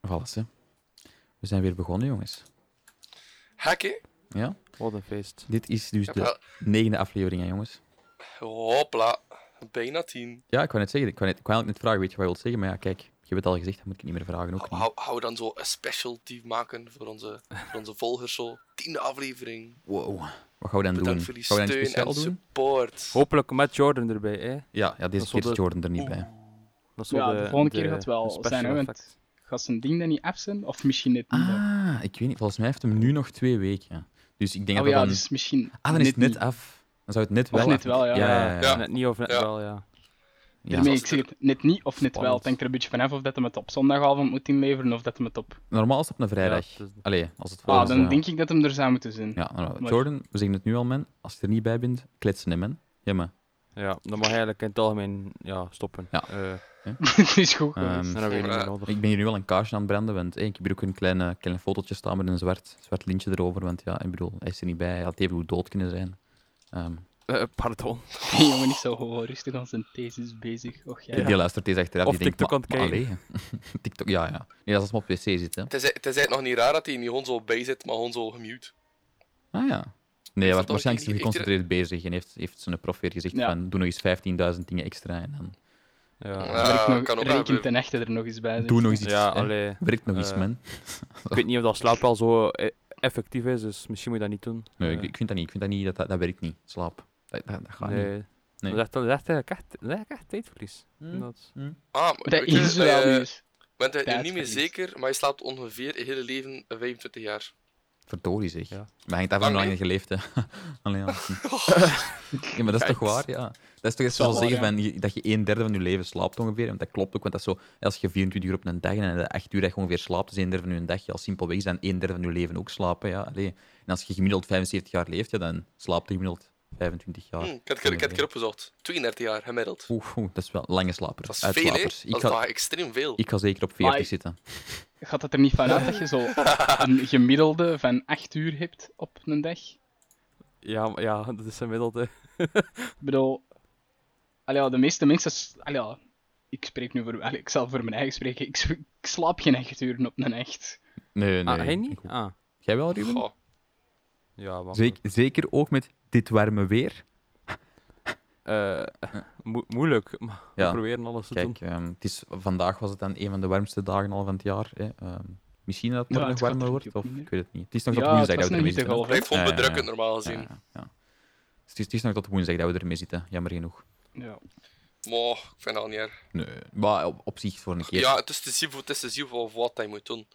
alles. Hè. We zijn weer begonnen, jongens. Hekkie. Ja? Wat een feest. Dit is dus Ja, de negende aflevering, hè, jongens. Hopla. Bijna tien. Ja, ik wou net zeggen, ik wou, net, ik wou eigenlijk net vragen, weet je wat je wilt zeggen? Maar ja, kijk, je hebt het al gezegd, dat moet ik niet meer vragen. Ook niet. Hou, hou dan zo een specialty maken voor onze, voor onze volgers. Zo. Tiende aflevering. Wow. Wat gaan we dan doen? Bedankt voor die Gaan we dan iets steun en speciaal doen? support. Hopelijk met Jordan erbij, hè? Ja, ja deze Dat is wel keer is de- Jordan er niet bij. Dat is wel Ja, de volgende keer de- gaat het wel de special zijn, hè, want- effect. Gaat zijn ding dan niet afzetten? Of misschien net niet? hè? Ah, ik weet niet. Volgens mij heeft hem nu nog twee weken. Dus ik denk dat oh we ja, dan... dus misschien. Ah, dan is het net niet. af. Dan zou het net Of wel net af- wel, ja. Ja, ja, ja. Ja. Net niet of net Ja. wel, ja. Ja. Daarmee, Zoals ik het- zeg het net niet of net wel. Spannend. Het hangt er een beetje vanaf of dat hem het op zondagavond moet inleveren of dat hem het op. Normaal is het op een vrijdag. Ja, het is- Allee, als het Ah, volgens... dan eh, denk ik dat hem er zou moeten zijn. Ja, nou, Maar- Jordan, we zeggen het nu al, man. Als je er niet bij bent, kletsen hem, man. Ja, maar. Ja, dan mag je eigenlijk in het algemeen ja, stoppen. Ja. Eh, Het is goed geweest. Ehm, dan hebben we je niet meer nodig. ik ben hier nu wel een kaarsje aan het branden, want eh, ik heb hier ook een kleine, kleine fotootje staan met een zwart, zwart lintje erover. Want ja, ik bedoel, hij is er niet bij. Hij had even goed dood kunnen zijn. Ehm, Eh, pardon. Die jongen is zo gewoon rustig aan zijn thesis bezig. Och ja. die- Die luistert deze achteraf. Of die denkt, TikTok "Maar- aan het maar allee." TikTok, ja, ja. Nee, dat is als hem op wc zit, hè. Het is, het is eigenlijk nog niet raar dat hij niet gewoon zo bij zit, maar gewoon zo gemute. Ah ja. Nee, hij was dat dan waarschijnlijk niet geconcentreerd bezig en heeft, heeft zijn prof weer gezegd Ja. van, doe nog eens 15.000 dingen extra en dan Ja, Ja. Werk nog- Eh, kan ook Reken gebeuren. ten echte er nog eens bij. dus- zeg. doe nog eens iets. ja hè. allee. Werkt nog eens, Eh, man. Ik weet niet of dat slaap wel zo eh, effectief is, dus misschien moet je dat niet doen. Nee, Eh, ik, ik vind dat niet. Ik vind dat niet, dat, dat, dat werkt niet. Slaap. Dat, dat, dat gaat nee. niet. Nee. Hm? Dat is echt- dat is echt, eigenlijk echt, dat is eigenlijk echt tijdverlies. Dat- Ah, maar Dat weet je, is wel eh, nieuws. Je bent er niet meer Tijdverlies. zeker, maar je slaapt ongeveer je hele leven eh, 25 jaar. Verdorie zeg. Ja. Maar hangt af van hoe Lang lang je geleefd hebt. Allee, ja. ja, maar dat is toch waar, ja. Dat is toch eens Dat zo is wel zeggen waar, van, je- dat je een derde van je leven slaapt ongeveer. Want dat klopt ook, want dat is zo, als je 24 uur op een dag en 8 uur dat je ongeveer slaapt, is een derde van je dag. Ja, simpelweg is dan een derde van je leven ook slapen. Ja. Allee. En als je gemiddeld 75 jaar leeft, ja, dan slaapt je gemiddeld 25 jaar. Hm, ik had ik had- ik had het keer opgezocht. 32 jaar gemiddeld. Ah, Oeh, oeh, dat is wel lange slaper. Dat is veel, hè? Dat Uitslapers. is Ik ga, toch extreem veel. ik ga zeker op 40 Maar- zitten. Gaat het er niet van uit dat je zo een gemiddelde van 8 uur hebt op een dag? Ja, maar- ja, dat is eh. gemiddeld. hè. Ik bedoel, allee, ja, de meeste mensen. s- allee, ja, ik spreek nu voor. allee, ik zal voor mijn eigen spreken. Ik, s- ik slaap geen echt uren op een echt. Nee, nee. Ah, hij niet? Ah, Jij wel, Ruben? Goh. ja, wacht. Zeker, zeker ook met dit warme weer. Eh, mo- moeilijk, maar Ja. we proberen alles te doen. Kijk, ehm, het is, vandaag was het dan een van de warmste dagen al van het jaar. Hè. Ehm, misschien dat het Ja, er nog het gaat warmer er wordt, niet op of neer. ik weet het niet. Het is nog tot ja, het woensdag was dat we nog ermee niet zitten. te golf. hè. Blijft gewoon Ja, ja, ja. bedrukkend normaal hè. gezien. Eh. Ja, ja, ja. Dus het is, het is nog tot woensdag dat we ermee zitten, jammer genoeg. Ja. Maar ik vind dat niet erg. Nee, maar op, op zich voor een keer. Ja, het is te zien, voor- het is te zien voor wat hij moet doen.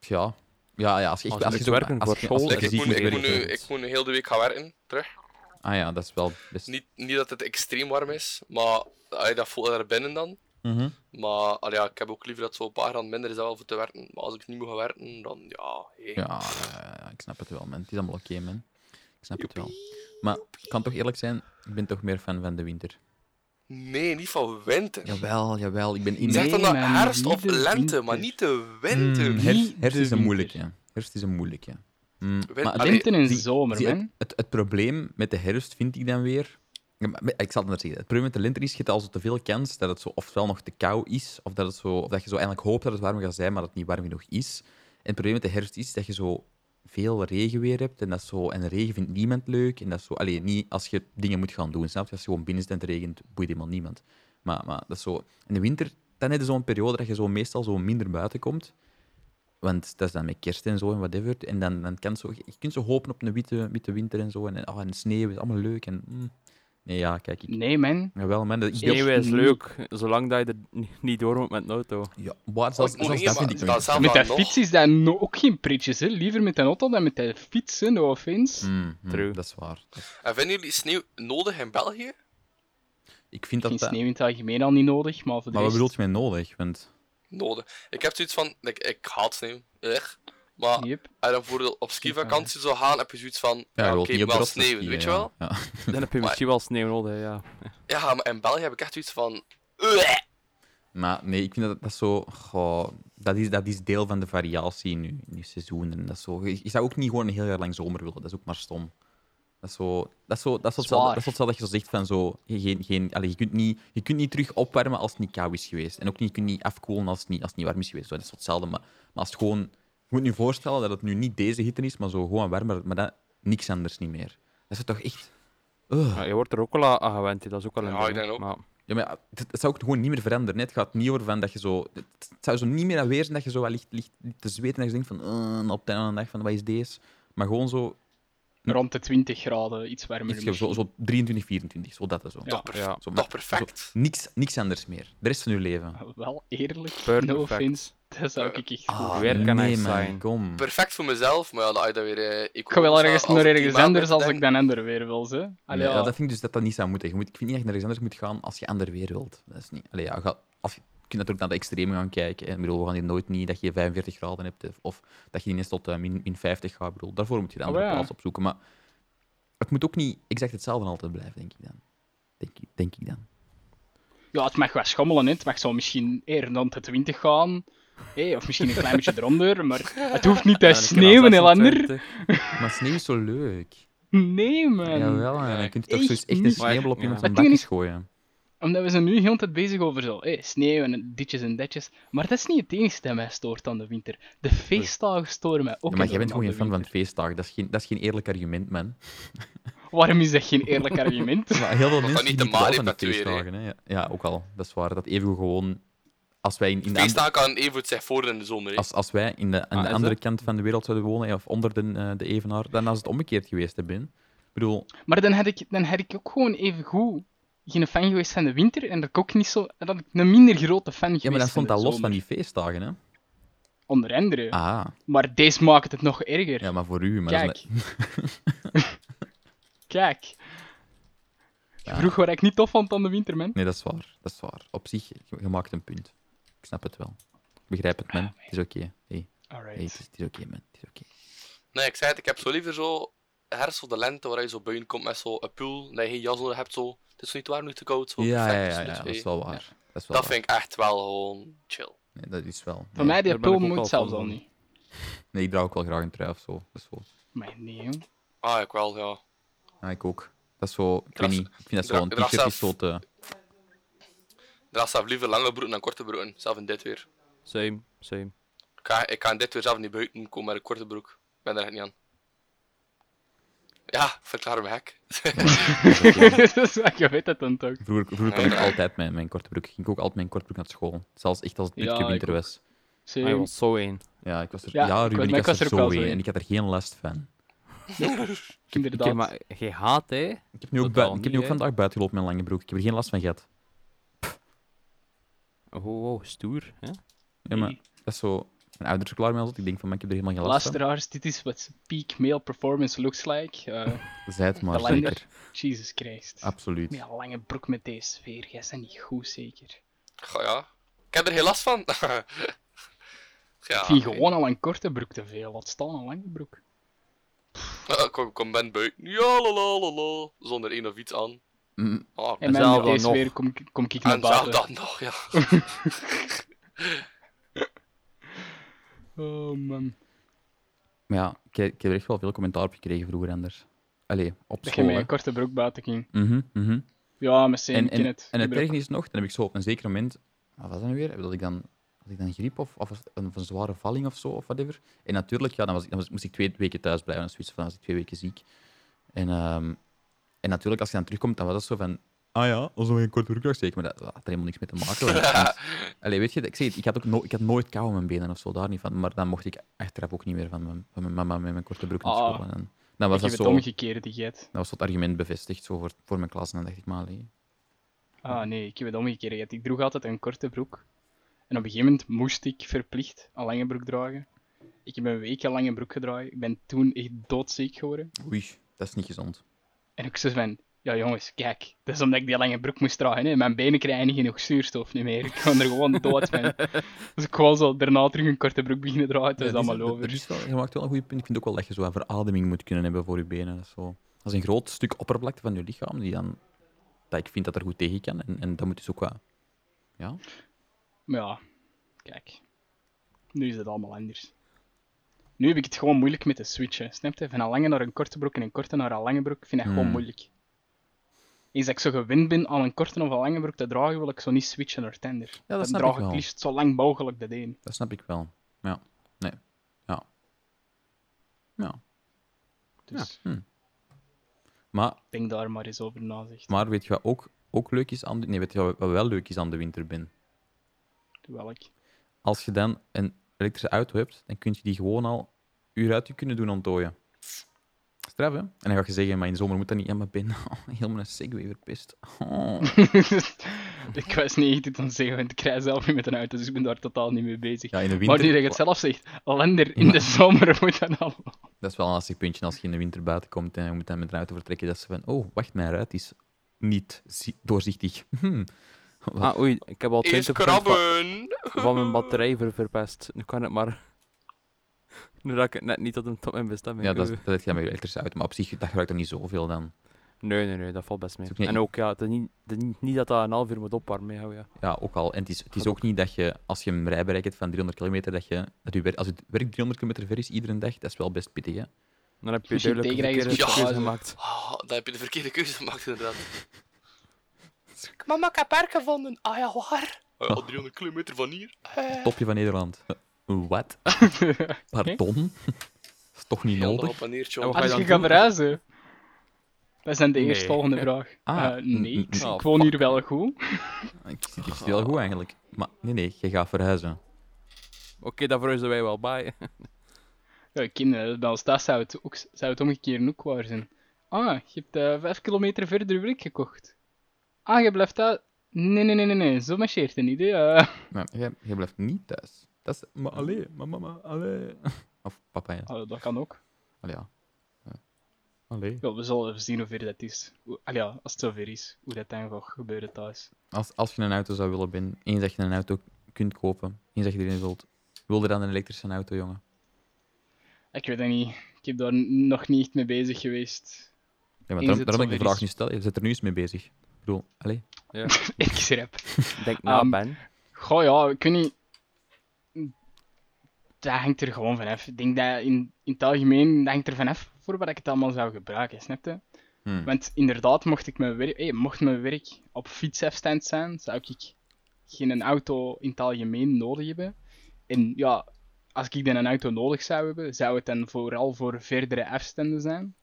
ja. Ja, ja, als je echt Als je als je moet zo- werken als voor je- als je school, Ik, dat fysiek ik, is moet, moet ik, moet nu, werken. ik moet nu heel de week gaan werken, terug. Ah ja, dat is wel best. Niet, niet dat het extreem warm is, maar allee, dat voelt er binnen dan. Mhm. Maar allee, ja, ik heb ook liever dat het zo'n paar graden minder is dan wel voor te werken. Maar als ik niet moet gaan werken, dan ja, hey. Ja, ja, ja, ja, ik snap het wel, man. Het is allemaal oké, man. Ik snap het wel. Maar ik kan toch eerlijk zijn, ik ben toch meer fan van de winter. Nee, niet van winter. Jawel, jawel. Ik ben in zeg Nee, dan dat man, herfst niet of de lente, winter. maar niet de winter. Mm, Niet herfst, herfst de is een winter. moeilijke. Herfst is een moeilijke. Mm, Win- maar Allee, Lente en zie- zomer, zie, het, man. het, het probleem met de herfst vind ik dan weer... Ja, maar- maar Ik zal het anders zeggen. Het probleem met de lente is, je hebt al zo te veel kans dat het zo ofwel nog te koud is, of dat, het zo, of dat je zo eigenlijk hoopt dat het warm gaat zijn, maar dat het niet warm genoeg is. En het probleem met de herfst is dat je zo veel regen weer hebt. En, dat is zo, en regen vindt niemand leuk. En dat is zo, alleen niet als je dingen moet gaan doen. Snap je? Als je gewoon binnen zit en het regent, boeit helemaal niemand. Maar, maar dat is zo. In de winter, dan heb je zo'n periode dat je zo meestal zo minder buiten komt. Want dat is dan met kerst en zo en whatever. En dan, dan kan zo, je kunt zo hopen op een witte, witte winter en zo. En, en- oh, en sneeuw is allemaal leuk. En, mm. Nee, ja, kijk. Ik, Nee, man. jawel, man. Dat, ik Sneeuw Sneeuw beeld- Eerst is niet. leuk, zolang dat je er ni- niet door moet met een auto. ja, maar zelfs, Oh, ik moet zelfs niet, dat vind maar ik dat wel. zelf- met dan de nog? fiets is dat no- ook geen pretje, hè. Liever met de auto dan met de fiets, hè, no offense. Mm, mm, True. dat is waar. En vinden jullie sneeuw nodig in België? Ik vind dat... Geen dat sneeuw in het algemeen al niet nodig, maar voor de maar wat rest... bedoelt je met nodig? Want Nodig. Ik heb zoiets van, ik, ik haat sneeuw, echt. Maar Yep. En dan bijvoorbeeld op skivakantie zo gaan, heb je zoiets van, ja, ja, je oké, wilt niet op de wel rotsen sneeuw, skiën, weet je ja. wel? Ja. Dan heb je misschien wel sneeuw nodig, ja. Ja, maar in België heb ik echt zoiets van, "Ueh." Maar nee, ik vind dat dat is zo. goh, dat, is, dat is deel van de variatie in je, in je seizoen. En dat is zo. Je je zou ook niet gewoon een heel jaar lang zomer willen. Dat is ook maar stom. Dat Dat is, zo, dat, is zo, dat, is zo hetzelfde, Zwaar. dat is zo hetzelfde dat je zo zegt van zo... je- Geen, geen, allee, je, kunt niet, je kunt niet terug opwarmen als het niet koud is geweest. En ook niet, je kunt niet afkoelen als het niet, als het niet warm is geweest. Zo, dat is zo hetzelfde. Maar, maar als het gewoon... Je moet je voorstellen dat het nu niet deze hitte is, maar zo gewoon warmer. Maar dat, niks anders niet meer. Dat is toch echt... Ugh. Ja, je wordt er ook wel aan- aan gewend, hè, dat is ook wel een Ja, ding, ik hè, denk ook. Maar Ja, maar ja, het, het zou ook gewoon niet meer veranderen. hè. Het gaat niet over van dat je zo... Het, het zou zo niet meer aanwezig zijn dat je zo wel ligt, ligt, ligt te zweten en dat je denkt van... eh, op de ene dag van, wat is deze? Maar gewoon zo, Rond de 20 graden, iets warmer. iets, zo, zo 23, 24, zo dat en zo. Ja. Toch, perf- ja, Zo, maar- toch perfect. Niks, niks anders meer. De rest van je leven. misschien. Ah, Wel eerlijk, Perfect. no offense. Dat zou ik echt goed Ah, Weer kan hij nee, man, zijn. Kom. Perfect voor mezelf, maar ja, dat je dat weer... eh, Ik ga wel economisch ergens aan- naar als ergens klimaat anders als ik denk. dan ander weer wil. Ze. Allee, Nee, ja. ja, dat vind ik dus dat dat niet zou moeten. Je moet, ik vind niet dat je naar ergens anders moet gaan als je ander weer wilt. Dat is niet... Allee, ja, ga, als je, je kunt natuurlijk naar de extreme gaan kijken. hè. Ik bedoel, we gaan hier nooit niet dat je 45 graden hebt hè, of dat je ineens tot eh, min, min 50 gaat. Ik bedoel, daarvoor moet je de Oh, andere ja. plaats opzoeken. Maar het moet ook niet exact hetzelfde altijd blijven, denk ik dan. Denk, ik- denk ik dan. Ja, het mag wel schommelen, hè. het mag zo misschien eerder rond de 20 gaan. Hé, of misschien een klein beetje eronder, maar het hoeft niet te ja, een keer aan sneeuwen, Elander. 26. Maar sneeuw is zo leuk. Nee, man. Jawel, en Ja, dan kun je toch echt zo eens echt een niet. sneeuwbal op Ja. iemands Maar het ding bakjes is- gooien. Omdat we zijn nu heel de tijd bezig over zo, hé, sneeuw en ditjes en datjes. Maar dat is niet het enige dat mij stoort aan de winter. De feestdagen storen mij ook. Ja, maar jij enorm bent gewoon aan geen de fan van winter. feestdagen. Dat is geen, dat is geen eerlijk argument, man. Waarom is dat geen eerlijk argument? Maar heel veel dat mensen niet niet te genieten wel maken van de heeft met weer, hè. feestdagen. Hè? Ja, Ja, ook al. Dat is waar. Dat even gewoon... Als wij in, in de, andere- Feestdagen kan even het zijn voor in de zomer. hè. als, als wij in de, aan Ah, de is andere dat? kant van de wereld zouden wonen, ja, of onder de, eh, de evenaar, dan was het omgekeerd geweest, hè, Ben? Ik bedoel, Maar dan had, ik, dan had ik ook gewoon even goed geen fan geweest van de winter. En dat ik ook niet zo. Dat ik een minder grote fan geweest ja, maar dat van stond al de los zomer. van die feestdagen, hè? Onder andere. Ah, Maar deze maakt het nog erger. ja, maar voor u. Maar dat is Kijk. net- Kijk. Je Ja. vroeg wat ik niet tof vond aan de winter, man. Nee, dat is waar. Dat is waar. Op zich, je, je maakt een punt. Ik snap het wel. Ik begrijp het, man. Het is oké. Hey, hey, het is, Alright. het is oké, man. Het is oké. Nee, ik zei het, ik heb zo liever zo herfst of de lente waar je zo buiten komt met zo'n pool, dat je geen jas nodig hebt zo. Het is niet warm, niet te koud. Zo. Ja, ja, perfect ja, tussen de ja, dus, dat twee. is wel waar. Dat is wel Dat waar. vind ik echt wel gewoon chill. Nee, dat is wel. Voor Nee. mij, die daar ben ik pul ook wel moet zelfs fan al van. niet. Nee, ik draag ook wel graag een trui of zo. Dat is wel... Maar nee, joh. Ah, ik wel, ja. Ja, Ah, ik ook. Dat is zo, ik Dras- weet niet, ik vind dat dra- zo een dras t-shirt is zelf. zo te... Daarnaast zelf liever lange broeken dan korte broeken, zelf in dit weer. Same, same. Ik ga, ik ga in dit weer zelf niet buiten komen met een korte broek. Ik ben daar echt niet aan. Ja, verklaar me gek. dat is wel, je weet dat dan toch. Vroeger, vroeger had ik altijd mijn, mijn korte broek. Ging ik ook altijd mijn korte broek naar school. Zelfs echt als het Ja, dikke ik winter ook. was. Hij Serieus. Ah, was zo één. Ja, ik was er, ja, Ja, ik Ruben, was- ik, maar was er ook wel zo zo in in. en ik had er geen last van. Oké, Inderdaad. maar je haat, hè? Ik heb nu ook, Totaal bui- ik heb nu niet, ook hè. vandaag buiten gelopen met een lange broek. Ik heb er geen last van gehad. Oh, wow, stoer. Hè? Ja, maar dat is zo... Mijn ouders verklaren mij altijd. Ik denk van, man, ik heb er helemaal geen last van. Luisteraars, dit is wat peak male performance looks like. Eh, Zij het maar, de lander. zeker. Jesus Christ. Absoluut. Met een lange broek met deze sfeer, jij bent niet goed zeker. Goh, ja. Ik heb er geen last van. ja, ik Ah, vind gewoon al een korte broek te veel, laat staan een lange broek. Ik kom, kom ben buiten. Ja, la, la, la, la. Zonder één of iets aan. Mm, Ah, En zelf met dan deze nog. weer kom, ik- kom ik naar en zelf dan buiten. nog, ja. Oh man. Maar ja, ik, ik heb er echt wel veel commentaar op gekregen vroeger anders. Allee, op Dat je school, met hè. een korte broek buiten ging. Mhm, mhm. Ja, met zijn En, ken en, het. en het gebruik. ergste is nog, dan heb ik zo op een zeker moment... ah, Wat was dat nu weer? Dat ik dan, had ik dan griep of, of een, of een zware valling of zo, of whatever. En natuurlijk, ja, dan, was, ik- dan was- moest ik twee weken thuis blijven. Dan zoiets van, dan was ik twee weken ziek. En, ehm, en natuurlijk, als je dan terugkomt, dan was dat zo van... Ah ja, als we een korte broek zeker. Maar dat, dat had er helemaal niks mee te maken. want dat was- Allee, weet je, ik zeg het, ik had, ook no- ik had nooit kou aan mijn benen of zo, daar niet van. Maar dan mocht ik achteraf ook niet meer van mijn, van mijn mama met mijn korte broek naar Ah. school. En dan, dan Ik was heb dat het zo... Dat omgekeerd, die get. was zo het argument bevestigd zo voor, voor mijn klas. En dan dacht ik, maar allee. Ah nee, ik heb het omgekeerd gehad. Ik droeg altijd een korte broek. En op een gegeven moment moest ik verplicht een lange broek dragen. Ik heb een week een lange broek gedragen. Ik ben toen echt doodziek geworden. Oei, dat is niet gezond. En ik zei van, ja jongens, kijk, dat is omdat ik die lange broek moest dragen. Hè. Mijn benen krijgen niet genoeg zuurstof niet meer. Ik ga er gewoon dood van. Dus ik wou zo daarna terug een korte broek beginnen dragen. Het was Ja, het allemaal het- het over. is wel- je maakt wel een goed punt. Ik vind ook wel dat je zo een verademing moet kunnen hebben voor je benen. Dat is, zo, dat is een groot stuk oppervlakte van je lichaam die dan, dat ik vind dat er goed tegen kan. En, en dat moet dus ook wel. Ja, Maar ja, kijk. Nu is het allemaal anders. Nu heb ik het gewoon moeilijk met de switchen. Snap je? Van een lange naar een korte broek en een korte naar een lange broek vind ik gewoon Hmm. moeilijk. Eens dat ik zo gewend ben aan een korte of een lange broek te dragen, wil ik zo niet switchen naar tender. dat Dan snap draag ik wel. liefst zo lang mogelijk dat één. Dat snap ik wel. Ja. Nee. Ja. Ja. Dus Maar, denk daar maar eens over na, zeg. maar weet je wat ook, ook leuk is aan de... Nee, weet je wat wat wel leuk is aan de winterbin? Terwijl ik... Als je dan een elektrische auto hebt, dan kun je die gewoon al uur uit je kunnen doen ontdooien. Straf, hè? En dan ga je zeggen, maar in de zomer moet dat niet. Ja, maar ben helemaal een segway verpest. Oh. ik was niet echt dit aan het zeggen, want ik rij zelf niet met een auto, dus ik ben daar totaal niet mee bezig. Ja, in de Maar nu winter... dat je het zelf zegt, Lender in Ja. de zomer moet dat al. Dat is wel een lastig puntje als je in de winter buiten komt en je moet dan met een auto vertrekken. Dat ze van, oh, wacht, mijn ruit is niet zi- doorzichtig. Hm. Ah, oei, ik heb al 20% Eerst van, krabben! van mijn batterij ver verpest. Nu kan het maar. Nu raak ik het net niet tot, een- tot mijn bestemming. Ja, dat, is- Oeh. dat heb je dan met je elektrische auto. Maar op zich, dat gebruikt er niet zoveel dan. Nee, nee, nee, dat valt best mee. Is ook niet- En ook, ja, het is niet, het is niet- niet dat dat een half uur moet opwarmen. hè, Ja. Ja, ook al. En het is, het is Gaat ook niet dat je, als je een rijbereik hebt van 300 kilometer, dat je, dat je wer- als het werk 300 kilometer ver is iedere dag, dat is wel best pittig, hè? Dan heb je Misschien duidelijk een tegenrijden is verkeerde goed. keuze gemaakt. Ja, Ah, dan heb je de verkeerde keuze gemaakt, inderdaad. Mama, ik heb haar gevonden. Ah ja, waar? Ah, ja, 300 kilometer van hier. Eh. Topje van Nederland. Eh, Wat? Pardon? dat is toch niet Heel nodig? op een neertje, Ja, we hoor. gaan- je Als dan je gaat doen? verhuizen. Dat is dan de Nee. eerstvolgende vraag. Ah, Eh, nee, mm, ik, mm, ik woon hier wel goed. Ik ik zit heel goed eigenlijk. Maar nee, nee, je gaat verhuizen. Oké, daar verhuizen wij wel bij. Ja, eh, kinderen, bij ons thuis zou het, ook, zou het omgekeerd ook waar zijn. Ah, je hebt eh, vijf kilometer verder werk gekocht. Ah, je blijft thuis. Nee, nee, nee, nee, nee, zo marcheert het niet. hè. Eh, Maar jij, jij blijft niet thuis. Dat is, maar allee, maar mama, allee. Of papa, ja. ah, dat kan ook. Allee, ja. Ja. Allee. Ja, we zullen even zien hoe ver dat is. Hoe- Allee, ja, als het zover is, hoe dat dan gaat gebeuren thuis. Als, als je een auto zou willen binnen, eens dat je een auto kunt kopen, eens dat je erin wilt, wil je dan een elektrische auto, jongen? Ik weet dat niet. Ik heb daar n- nog niet echt mee bezig geweest. Ja, maar Eens daarom, het daarom dat ik zover de vraag is. nu stel, je zit er nu eens mee bezig. Ik bedoel, allee. ik schrap. Denk na, Ehm, Ben. Goh, ja, ik weet niet. Dat hangt er gewoon vanaf. Ik denk dat in, in het algemeen dat hangt er vanaf voor wat ik het allemaal zou gebruiken, snap je? Hmm. Want inderdaad, mocht, ik mijn werk, eh, mocht mijn werk op fietsafstand zijn, zou ik geen auto in het algemeen nodig hebben. En ja, als ik dan een auto nodig zou hebben, zou het dan vooral voor verdere afstanden zijn.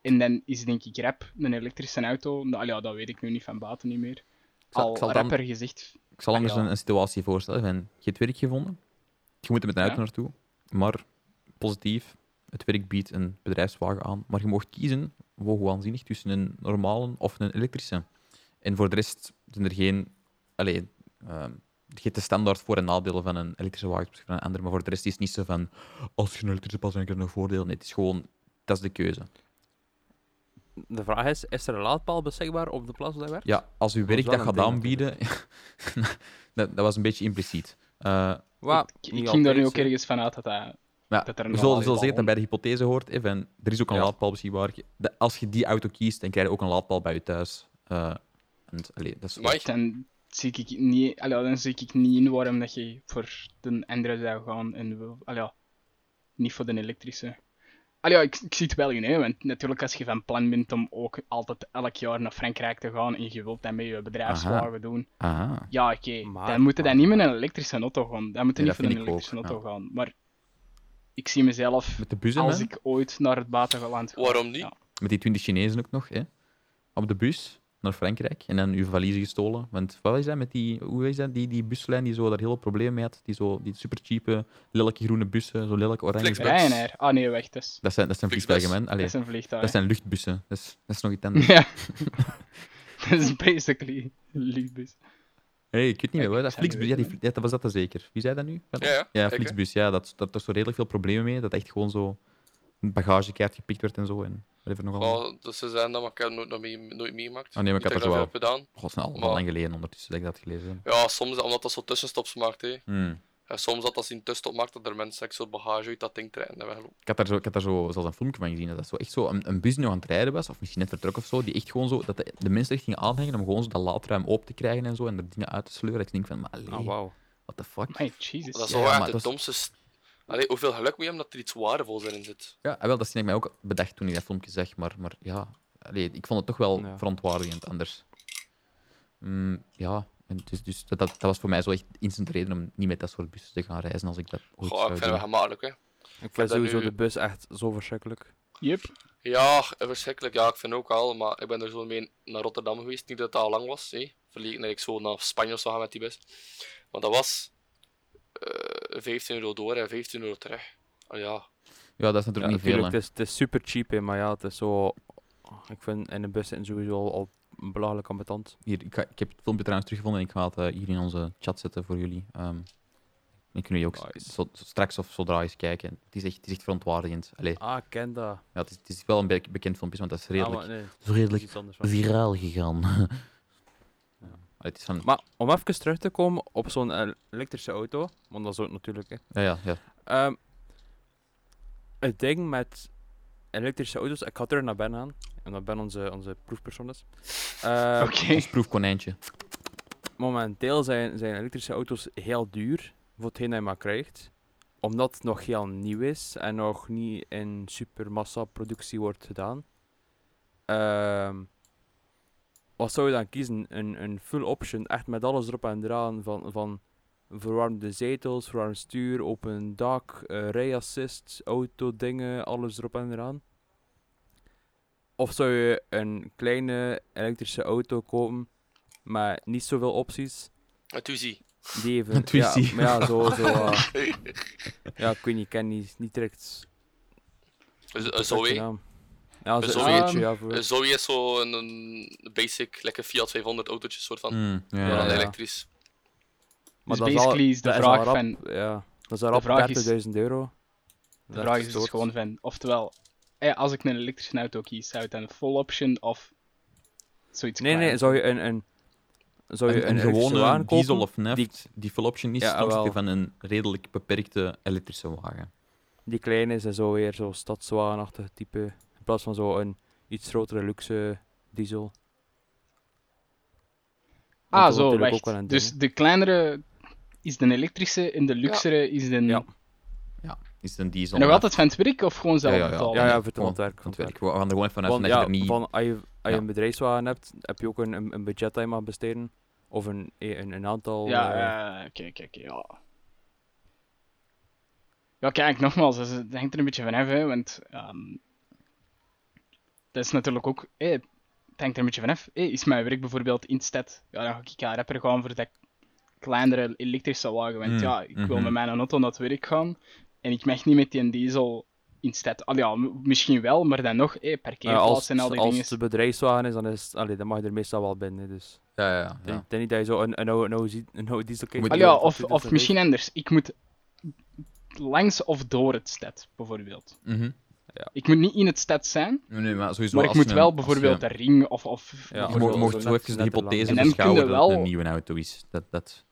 En dan is denk ik rap een elektrische auto. Nou ja, dat weet ik nu niet van baten niet meer. zal- Al ik zal dan- rapper gezegd Ik Ah, zal anders ja. een, een situatie voorstellen. Van, je hebt het werk gevonden, je moet er met een auto Ja. naartoe, maar positief, het werk biedt een bedrijfswagen aan, maar je mag kiezen, wow, hoe aanzienlijk, tussen een normale of een elektrische. En voor de rest zijn er geen... Allee, ehm, je hebt de standaard voor- en nadelen van een elektrische wagen ten opzichte van een andere, maar voor de rest is het niet zo van als je een elektrische pas dan heb je een voordeel. Nee, het is gewoon... Dat is de keuze. De vraag is: is er een laadpaal beschikbaar op de plaats waar je werkt? Ja, als uw Dat werk is dat wel een gaat ding aanbieden... dat, dat was een beetje impliciet. Eh, Wa- Ik- ik niet ging daar nu ook altijd, hè. ergens vanuit dat dat... Maar Dat er een we zullen, we zullen laadpaal zeggen dat bij de hypothese hoort, hè, van, er is ook een Ja. laadpaal beschikbaar. De- als je die auto kiest, dan krijg je ook een laadpaal bij je thuis. Eh, en, allee, dat is Amai. Dan zie ik niet, allee, dan zie ik niet in waarom dat je voor de andere zou gaan en wil, allee, ja, niet voor de elektrische. Allee, ja, ik, ik zie het wel in, hè, want natuurlijk als je van plan bent om ook altijd elk jaar naar Frankrijk te gaan en je wilt dat met je bedrijfswagen doen, Aha. ja, oké, Maar- dan moet je maar- dan niet met een elektrische auto gaan. Dan moet Nee, je niet dat voor een vind ik ook, elektrische auto gaan. Maar ik zie mezelf, Met de bussen, als hè? ik ooit naar het buitenland ga... Waarom niet? Ja. met die 20 Chinezen ook nog, hè? op de bus naar Frankrijk en dan uw valiezen gestolen. Want wat is dat met die, hoe is dat, die, die buslijn die zo daar heel probleem mee had? Die, zo, die supercheape, lelijke groene bussen, zo lelijk oranje. Flixbus. Ryanair? Ah nee, weg, dat is, Dat zijn, dat zijn Flixbus. vliegtuigen, man. dat Allee, is een vliegtuig. dat zijn luchtbussen. Dat is, dat is nog iets anders. Ja. Dat is basically Libus. Hey, ik weet niet meer. wat Dat zou niet Flixbus, ja, die, weten, ja, dat was dat dan zeker. Wie zei dat nu? Ja, ja. Ja, Kijk, hè. Flixbus, ja, dat, dat er zo redelijk veel problemen mee. Dat echt gewoon zo een bagagekaart gepikt werd en zo. En whatever nogal. Oh, Oh, dus ze zijn dat, maar ik heb het nooit, nog mee, nooit meegemaakt. Ah, nee, maar ik heb Niet dat er dat veel heb gedaan. God, dat is nou al maar- lang geleden ondertussen dat ik dat gelezen heb. Ja, soms, omdat dat zo tussenstops maakt, hè. Hmm. En soms dat als hij een tussenstop maakt, dat er mensen echt zo bagage uit dat ding trekken en weglopen. Ik, had daar zo, ik had daar zo zelfs een filmpje van gezien. Dat dat zo echt zo een, een bus die nog aan het rijden was, of misschien net vertrokken of zo. Die echt gewoon zo, dat de, de mensen echt gingen aanhangen om gewoon zo dat laadruim open te krijgen en zo. En er dingen uit te sleuren. Dat ik denk van, maar allee, Ah, wauw. what the fuck. My Jesus. Dat is Ja, wel maar echt de dat is- domste... s- Allee, hoeveel geluk moet je hebben dat er iets waardevols in zit? Ja, en wel, dat is ik mij ook bedacht toen ik dat filmpje zag, maar, maar ja, allee, ik vond het toch wel Ja. verontwaardigend anders. Mm, ja, en dus, dus dat, dat, dat was voor mij zo echt instant reden om niet met dat soort bussen te gaan reizen als ik dat ooit Goh, ik zou vind het doen. gemakkelijk, hè. Ik dat vind sowieso nu- de bus echt zo verschrikkelijk. Yep. Ja, verschrikkelijk. Ja, ik vind ook al, maar ik ben er zo mee naar Rotterdam geweest. Niet dat het al lang was. hè. Verleden dat ik zo naar Spanje of zo gaan met die bus. Maar dat was eh 15 euro door en 15 euro terug. Ah, ja, Ja, dat is Ja, natuurlijk niet natuurlijk, veel. het hè. is, het is super cheap, hè, maar ja, het is zo... Ik vind in de bus zitten sowieso al, al belachelijk ambetant. Hier, ik, ga- ik heb het filmpje trouwens teruggevonden en ik ga het eh, hier in onze chat zetten voor jullie. Ehm dan kunnen jullie ook Nice. zo- straks of zodra eens kijken. Het is echt, het is echt verontwaardigend. Allee, Ah, ik ken dat. Ah, ja, het, is, het is wel een be- bekend filmpje, want dat is redelijk, maar nee, is dat is redelijk iets anders. wel. viraal gegaan. Allee, het is van... Maar om even terug te komen op zo'n el- elektrische auto, want dat is ook natuurlijk, Ja, hè. ja, ja. Ehm, het ding met elektrische auto's, ik ga terug naar Ben aan, omdat Ben onze, onze proefpersoon is. Ehm, Oké. Ons proefkonijntje. momenteel zijn, zijn elektrische auto's heel duur voor hetgeen dat je maar krijgt. Omdat het nog heel nieuw is en nog niet in supermassa productie wordt gedaan. Ehm, wat zou je dan kiezen? Een, een full option, echt met alles erop en eraan van, van verwarmde zetels, verwarmd stuur, open dak, eh rijassist, autodingen, alles erop en eraan. Of zou je een kleine elektrische auto kopen maar niet zoveel opties. het UZI. Die even, Een ja, twistie. maar ja, zo, zo. eh, ja, ik weet niet, ik ken niet, niet direct. de Een perfecte Zoe. naam. Ja, Een zo, Zoe. zoietje, ja, voor, Een Eh, Zoe is zo een, een basic, lekker Fiat 500 autootje soort van. Mm, ja, Maar ja, dan ja. elektrisch. maar dus dat al- basically is de dat vraag al rap, van- Ja, dat is al de rap vraag is- 30.000 euro. De vraag is dus gewoon van, oftewel, eh, als ik een elektrische auto kies, zou het dan een full option of zoiets Nee, nee, kleiner? zou je een... een zou Een, je een een, elektrische gewone wagen kopen? diesel of neft, die, die- full option is Ja, ten opzichte wel. van een redelijk beperkte elektrische wagen. Die kleine is en zo weer zo'n stadswagenachtig type. In plaats van zo'n iets grotere luxe diesel. Want dat Ah, wordt zo, natuurlijk ook wel wacht. een Dus ding. de kleinere is de elektrische en de luxere is de... Ja. Is het een diesel? En nog hè? altijd van het werk of gewoon zelf Ja, ja, ja. betalen? Ja, ja, voor het Gewoon- handwerk. Want want we we gaan er gewoon vanuit Want, dat je ja, er niet... van, als je, als je Ja. een bedrijfswagen hebt, heb je ook een, een, een budget dat je mag besteden. Of een, een, een aantal. Ja, eh, eh, oké, oké, oké, ja. Ja, kijk, nogmaals, dus het hangt er een beetje van af, hè, want ehm, dat is natuurlijk ook, eh, het hangt er een beetje van af. Eh, is mijn werk bijvoorbeeld in de stad, ja, dan ga ik ja, rapper gaan voor dat kleinere elektrische wagen, want Mm, ja, ik wil mhm. met mijn auto naar het werk gaan en ik mag niet met die diesel in de stad. Al ja, m- misschien wel, maar dan nog, eh, eh, parkeerplaats als en al die als dingen. het een bedrijfswagen is, dan, is, allee, dan mag je er meestal wel binnen. Dus Ja, ja, ja. ik denk- ik denk niet dat je zo een, een, oude, een, oude, zie- een oude diesel kijkt. Moet Al je Ah, ja, wel of, of misschien anders. Ik moet langs of door het stad, bijvoorbeeld. Mhm. Ik moet niet in het stad zijn, Nee, nee, maar sowieso maar ik als moet je wel een- als je- bijvoorbeeld de ring of... of Ja, Je mo- Zo- mocht zo zo net- even de net te lang. hypothese En dan kun beschouwen je dat het wel- een nieuwe auto is. Dat, dat...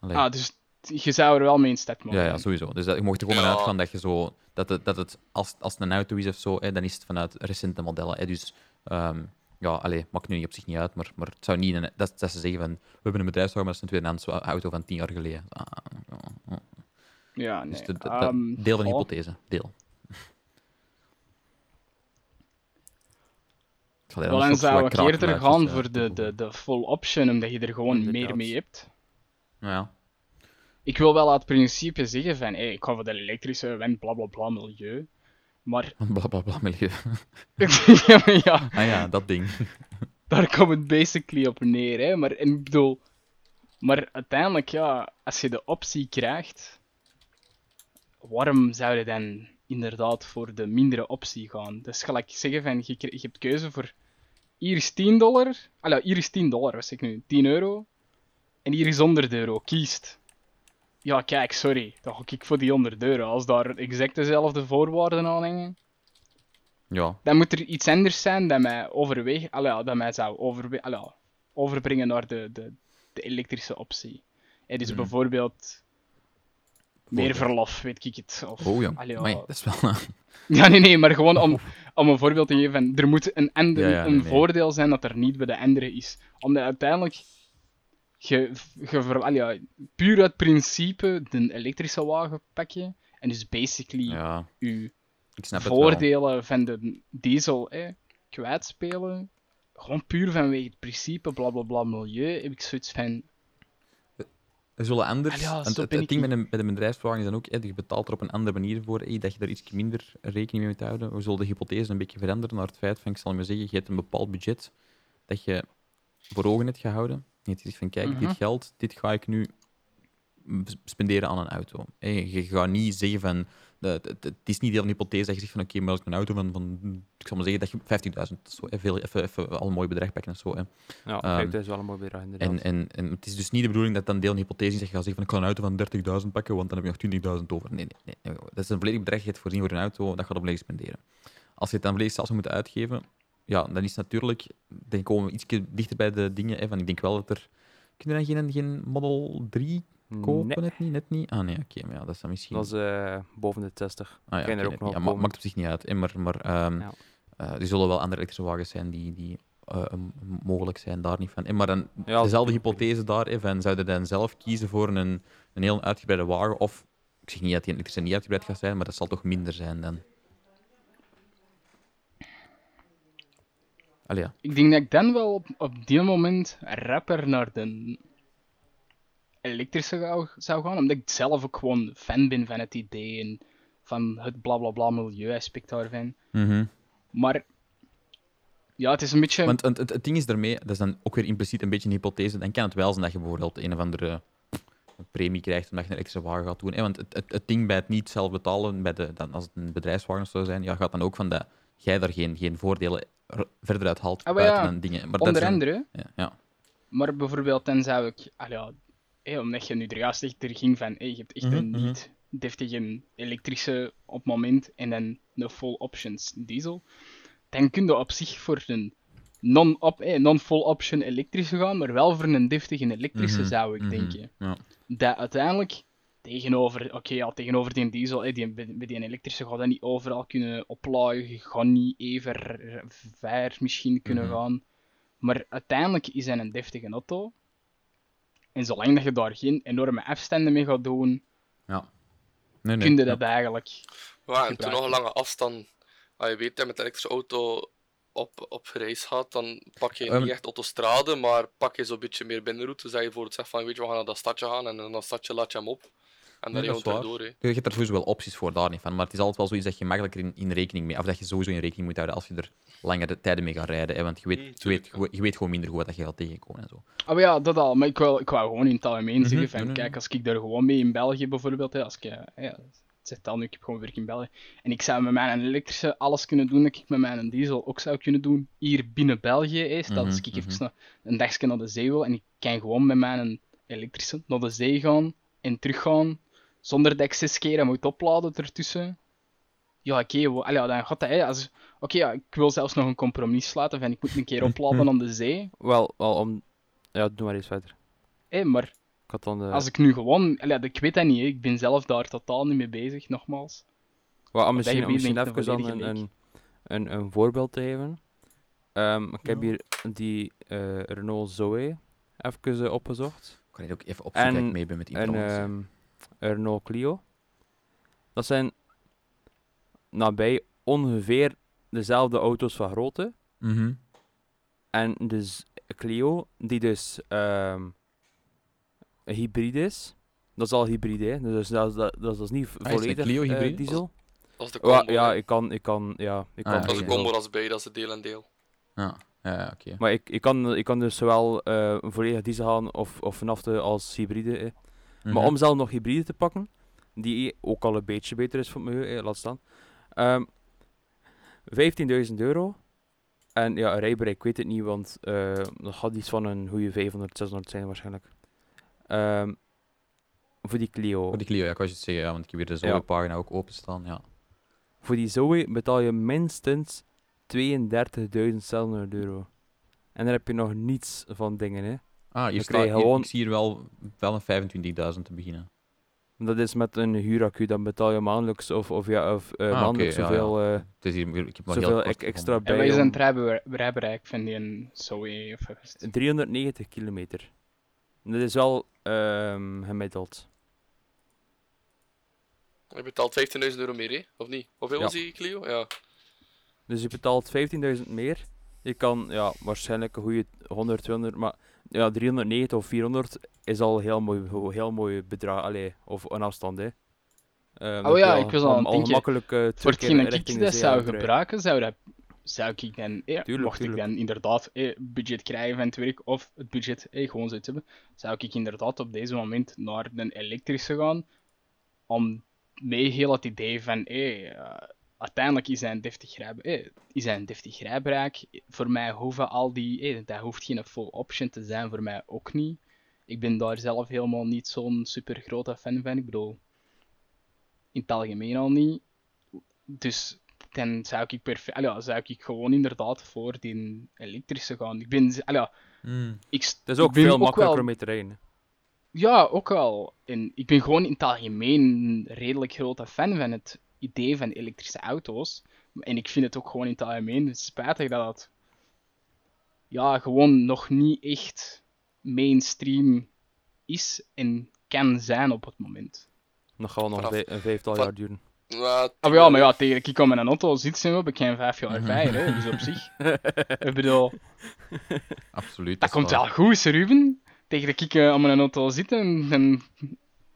Allee. Ah, dus t- je zou er wel mee in het stad mogen. Ja, ja, sowieso. Dus dat, je mocht er gewoon Ja. vanuit gaan dat, je zo, dat, het, dat het, als, als het een auto is of zo, hè, dan is het vanuit recente modellen. Hè, dus ehm, ja, allee, maakt nu niet op zich niet uit, maar, maar het zou niet... Een, dat, dat ze zeggen van, we hebben een bedrijfswagen, maar dat is een tweedehands wa- auto van tien jaar geleden. Ah, ja, ja. Ja, nee. Dus dat- dat- dat- Ehm, deel van de goh. hypothese. Deel. Ik zal daar Wel, nog dan zo wat zou ik kraken eerder uit, gaan dus, eh, voor de, de, de full option, omdat je er gewoon meer Inderdaad. mee hebt. Ja. Ik wil wel uit principe zeggen van, hey, ik ga voor de elektrische, want bla bla bla, milieu. Maar, Bla bla bla milieu. ja, maar ja, Ah ja, dat ding. daar komt het basically op neer. Hè? Maar, en ik bedoel, maar uiteindelijk, ja, als je de optie krijgt, waarom zou je dan inderdaad voor de mindere optie gaan? Dus gelijk zeggen van, je, kri- je hebt keuze voor hier is 10 dollar, ah, ja, hier is 10 dollar, was ik nu, 10 euro, en hier is 100 euro, kiest. Ja, kijk, sorry, dan ga ik voor die 100 euro. Als daar exact dezelfde voorwaarden aan hangen, Ja. dan moet er iets anders zijn dat mij, overweeg, allee, ja, dat mij zou overwe- allee, ja, overbrengen naar de, de, de elektrische optie. Het is Hmm. bijvoorbeeld meer Voorbeeld. verlof, weet ik het. Of, Oh jong. allee, ja. Amai, dat is wel... eh, Ja, nee, nee, maar gewoon om, om een voorbeeld te geven. van, Er moet een, ander, Ja, ja, nee, een nee. voordeel zijn dat er niet bij de andere is. Omdat uiteindelijk, je, je ver- allee, ja, puur uit principe, de elektrische wagen pak je. En En dus basically Ja, uw ik snap het wel. voordelen van de diesel hè, kwijtspelen. Gewoon puur vanwege het principe, blablabla, milieu, heb ik zoiets van... Er zullen anders. Ah ja, want zo het, ben het ik ding niet. met een, met een bedrijfsverwarring is dan ook, eh, je betaalt er op een andere manier voor, eh, dat je daar iets minder rekening mee moet houden. We zullen de hypothese een beetje veranderen naar het feit van, ik zal maar zeggen, je hebt een bepaald budget dat je voor ogen hebt gehouden. Je hebt gezegd van, kijk, Mhm. dit geld, dit ga ik nu sp- spenderen aan een auto. Eh, je gaat niet zeggen van, eh, het, het- het is niet deel van de hypothese dat je zegt van, oké, maar als ik mijn auto van, van, ik zal maar zeggen, dat je 15.000, zo, eh, veel, even, even al een mooi bedrag pakken en zo. eh. Ja, Ehm, kijk, dat is wel een mooi bedrag inderdaad. En, en, en het is dus niet de bedoeling dat dan deel een hypothese is dat je gaat zeggen van ik kan een auto van 30.000 pakken, want dan heb je nog 20.000 over. Nee, nee, nee, nee. Dat is een volledig bedrag, je hebt voorzien voor een auto, dat gaat op volledig spenderen. Als je het dan volledig zelf zou moeten uitgeven, ja, dan is natuurlijk, dan komen we ietsje dichter bij de dingen. Hè, van, ik denk wel dat er, kunnen we dan geen, geen Model 3 kopen? Nee, Net niet, net niet? Ah nee, oké, maar ja, dat is dan misschien... dat is eh, boven de 60. Ah, ja, Kan er oké, ook nog ja, ma- komen. maakt op zich niet uit. hè, Maar, maar ehm, Ja. eh, er zullen wel andere elektrische wagens zijn die, die eh, m- mogelijk zijn, daar niet van. Eh, maar dan, Ja, dezelfde dat- hypothese daar, eh, van, zou je dan zelf kiezen voor een, een heel uitgebreide wagen? Of, ik zeg niet dat die elektrische niet uitgebreid gaat zijn, maar dat zal toch minder zijn dan? Allee, ja. Ik denk dat ik dan wel op, op die moment rapper naar de elektrische gauw- zou gaan, omdat ik zelf ook gewoon fan ben van het idee en van het blablabla milieu-aspect daarvan. Mhm. Maar ja, het is een beetje. Want het, het, het ding is daarmee, dat is dan ook weer impliciet een beetje een hypothese. Dan kan het wel zijn dat je bijvoorbeeld een of andere eh, premie krijgt omdat je een extra wagen gaat doen. hè. want het, het, het ding bij het niet zelf betalen, bij de, dan, als het een bedrijfswagen zou zijn, ja, gaat dan ook van dat jij daar geen, geen voordelen r- verder uit haalt Ah, maar buiten ja, dan dingen. Maar dat onder is een- andere. ja, ja. Maar bijvoorbeeld, dan zou ik. Ah ja, hé, omdat je nu er juist echt er ging van. hé, je hebt echt Mhm, een mhm. niet deftige elektrische op het moment en dan een full options diesel. Dan kun je op zich voor een non-op- hé, non-full option elektrische gaan, maar wel voor een deftige elektrische Mhm, zou ik mhm, denken. Ja. dat uiteindelijk tegenover, oké, ja, tegenover die diesel, hè, die, bij bij die elektrische gaat dat niet overal kunnen oplaaien, je gaat niet even r- ver misschien kunnen Mhm. gaan. Maar uiteindelijk is dat een deftige auto. En zolang dat je daar geen enorme afstanden mee gaat doen, Nee, nee. kun je ja. dat eigenlijk. Ja, en toen gebruikt nog een wordt. lange afstand. Als je weet dat je met de elektrische auto op, op reis gaat, dan pak je Ehm. niet echt autostrade, maar pak je zo'n beetje meer binnenroute. Zeg je voor het zegt van, weet je, we gaan naar dat stadje gaan en in dat stadje laat je hem op. En Nee, dat dan rijden is we waar. hem door. hè. Je hebt er sowieso wel opties voor, daar niet van. Maar het is altijd wel zoiets dat je makkelijker in, in rekening mee... Of dat je sowieso in rekening moet houden als je er langere tijden mee gaat rijden. Hè, want je weet, Mm, je, weet, tuurlijk, je, weet gewoon minder goed wat dat je gaat tegenkomen en zo. Ah, maar ja, dat al. Maar ik wou, ik wou gewoon in het algemeen Mhm, zeggen: nee, van, nee, kijk, nee. als ik daar gewoon mee in België bijvoorbeeld, hè, als ik. eh, Ja, het zegt al nu, ik heb gewoon werk in België. En ik zou met mijn elektrische alles kunnen doen dat ik met mijn diesel ook zou kunnen doen. Hier binnen België is dat als Mhm, ik even mhm. na- een dagje naar de zee wil en ik kan gewoon met mijn elektrische naar de zee gaan en teruggaan zonder dat ik zes keer hem moet opladen ertussen. Ja, oké, wo- allee, ja, dan gaat dat. hè. Als- Oké, ja, ik wil zelfs nog een compromis sluiten van ik moet een keer opladen aan de zee. Wel, wel om... Ja, doe maar eens verder. Hé, maar Ik had dan eh, de... als ik nu gewoon, allee, ik weet dat niet, hè. ik ben zelf daar totaal niet mee bezig, nogmaals. Wel, om misschien, om gebied misschien denk ik een even dan volledige een, leak. een, een, een voorbeeld te geven. Ehm, ik heb hier die eh, Renault Zoe even eh, opgezocht. Ik kan hier ook even opzoeken dat En ik mee ben met iemand. En ehm, een Renault Clio. Dat zijn nabij ongeveer dezelfde auto's van grootte. eh, Mhm. En dus Clio, die dus ehm, een hybride is. Dat is al hybride, hè. dus dat is, dat, dat is dus niet Ah, is een volledig Clio eh, hybride? diesel. Dat is de Wa- combo. ja, hè. ik kan, ik kan, ja, ik Ah, kan ja, Dat is de oké. combo, dat is bij, dat is de deel en deel. Ja, ja, ja, oké. Maar ik, ik, kan, ik kan dus zowel eh volledig diesel gaan of, of vanaf de als hybride. eh. Maar Mhm. om zelf nog hybride te pakken, die ook al een beetje beter is voor het milieu, eh, laat staan. Ehm 15.000 euro. En ja, een rijbereik, ik weet het niet, want eh, dat gaat iets van een goede 500, 600 zijn waarschijnlijk. Ehm, voor die Clio. Voor die Clio, ja, ik was je het zeggen, ja, want ik heb hier de Ja. Zoe-pagina ook openstaan. Ja. Voor die Zoe betaal je minstens 32.700 euro. En daar heb je nog niets van dingen, hè. Ah, hier Dan staat, krijg je hier, gewoon- ik zie hier wel, wel een 25.000 te beginnen. Dat is met een huuraccu, dan betaal je maandelijks of, of, ja, of eh, Ah, oké, maandelijks ja, ja. zoveel, eh, Dus hier, ik heb nog heel zoveel kort ek- extra gevonden. En bij. wij zijn om het rijbe- rijbereik van die een Zoe of wat is het? 390 kilometer. Dat is wel ehm, gemiddeld. Je betaalt 15.000 euro meer, hè? of niet? Hoeveel Ja. was die Clio? Ja. Dus je betaalt 15.000 meer. Je kan ja, waarschijnlijk een goede 100, 200, maar ja, 390 of 400 is al een heel mooi, heel mooi bedrag. Allee, of een afstand, hè. Ehm, Oh dat ja, je ik was al aan het denken. gemakkelijk eh, twee Voor keer hetgeen dat richting ik de dat zee zou aan het rijden. gebruiken, zou, dat, zou ik dan, eh, Tuurlijk, mocht ik tuurlijk. dan inderdaad eh, budget krijgen van het werk of het budget eh, gewoon zitten hebben, zou ik inderdaad op deze moment naar een elektrische gaan. Om mee heel het idee van eh, eh, uiteindelijk is een deftig grijp, eh, is een deftig grijpraak. Voor mij hoeven al die, eh, dat hoeft geen full option te zijn, voor mij ook niet. Ik ben daar zelf helemaal niet zo'n super grote fan van. Ik bedoel, in het algemeen al niet. Dus dan zou ik, perfect, ja, zou ik gewoon inderdaad voor die elektrische gaan. Ik ben, ja, Hmm. ik s- Het is ook ben veel wel- makkelijker om mee te rijden. ja, ook wel. En ik ben gewoon in het algemeen een redelijk grote fan van het idee van elektrische auto's. En ik vind het ook gewoon in het algemeen spijtig dat dat ja, gewoon nog niet echt mainstream is en kan zijn op het moment. Dat gaat wel nog Vanaf- vij- een vijftal van- jaar duren. Nou, Ah, maar ja, maar ja, tegen dat ik al met een auto zit, zijn we heb ik geen vijf jaar Mhm. bij, hè, dus op zich. ik bedoel, Absoluut. dat is komt waar. wel goed, hè, Ruben. Tegen dat ik eh, al met een auto zit, dan dan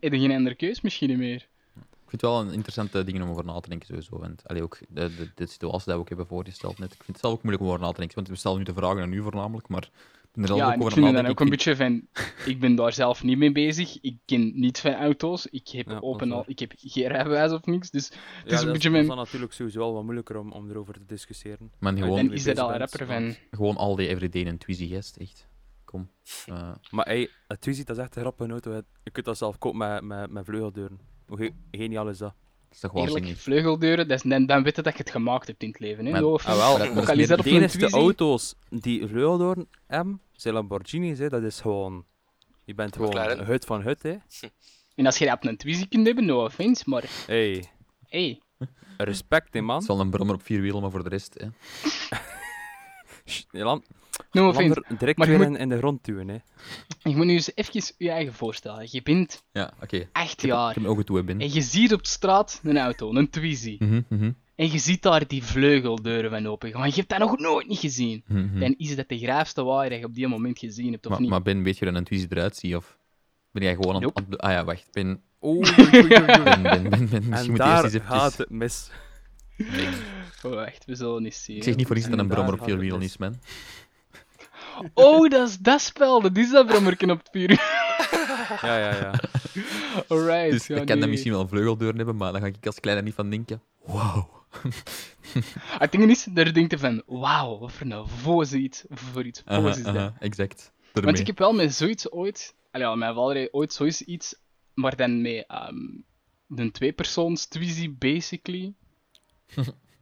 heb je geen andere keus misschien niet meer. Ik vind het wel een interessante ding om over na te denken, sowieso. En, allee, ook de, de, de situatie die we ook hebben voorgesteld net. Ik vind het zelf ook moeilijk om over na te denken, want we stellen nu de vragen aan u voornamelijk, maar ik ben er zelf Ja, ook en over ik aan vind het het dan nadenken. ook een Ik vind- beetje van. Ik ben daar zelf niet mee bezig. Ik ken niet van auto's. Ik heb, Ja, dat is open al, waar. ik heb geen rijbewijs of niks. Dus Ja, is een dat, beetje dat mijn- dan natuurlijk sowieso wel wat moeilijker om, om erover te discussiëren. Maar Ik dan gewoon, ben- is dat bezig al bent, rapper van. want- gewoon al die everyday en Twizy guest, echt. Kom. Eh, Maar hey, het Twizy, dat is echt een grappige auto. hè. Je kunt dat zelf kopen met, met, met vleugeldeuren. Hoe ge- geniaal is dat? dat is toch wel Eerlijk, zinnig. vleugeldeuren. Dat is, dan, dan weet je dat je het gemaakt hebt in het leven. Hè? Maar- No offense. ah, wel, maar dat- ook dat al is is dat De op een enige Twizy. auto's die vleugeldeuren hebben, zijn Lamborghinis. Hè. Dat is gewoon... Je bent gewoon McLaren. hut van hut, hè. En als je dat op een Twizy kunt hebben, no offense. Maar Hey, hey, respect, hè, Het man. is wel een brommer op vier wielen, maar voor de rest... Hè. Sst, je lam- no offense. Lander direct Maar je weer moet- in, in de grond duwen, hè. Je moet nu eens even je eigen voorstellen. Je bent Ja, oké. Ik acht heb- Ik jaar. heb mijn ogen toe hè, binnen. En je ziet op straat een auto, een Twizy. Mhm, mhm, En je ziet daar die vleugeldeuren van open. Maar je hebt dat nog nooit niet gezien. mhm. Dan is dat de graafste waaier dat je op die moment gezien hebt, of Maar, niet? maar Ben, weet je hoe een Twizy eruit ziet? Of ben jij gewoon aan Nope. aan- Ah ja, wacht. Ben, Oeh, ben, ben, ben, ben, Misschien en moet je eerst daar eens gaat eventjes... het mis. Oh, wacht, we zullen eens zien. Ik zeg niet voor iets dat En een brommer daar op vier gaat het wielen is, man. mis. Oh, dat is dat spel. Dat is dat brommerken op het vuur. Ja, ja, ja. Alright. Dus ja, ik kan nee. dat misschien wel vleugeldeuren hebben, maar dan ga ik als kleine niet van denken. Wauw. Het ding is, daar denk je van, wauw, wat voor een voos iets. Voor iets voos Aha, is dat. aha, exact. Daarmee. Want ik heb wel met zoiets ooit... Allee, ja, mijn vader heeft ooit zoiets iets, maar dan met ehm een tweepersoons Twizy, basically,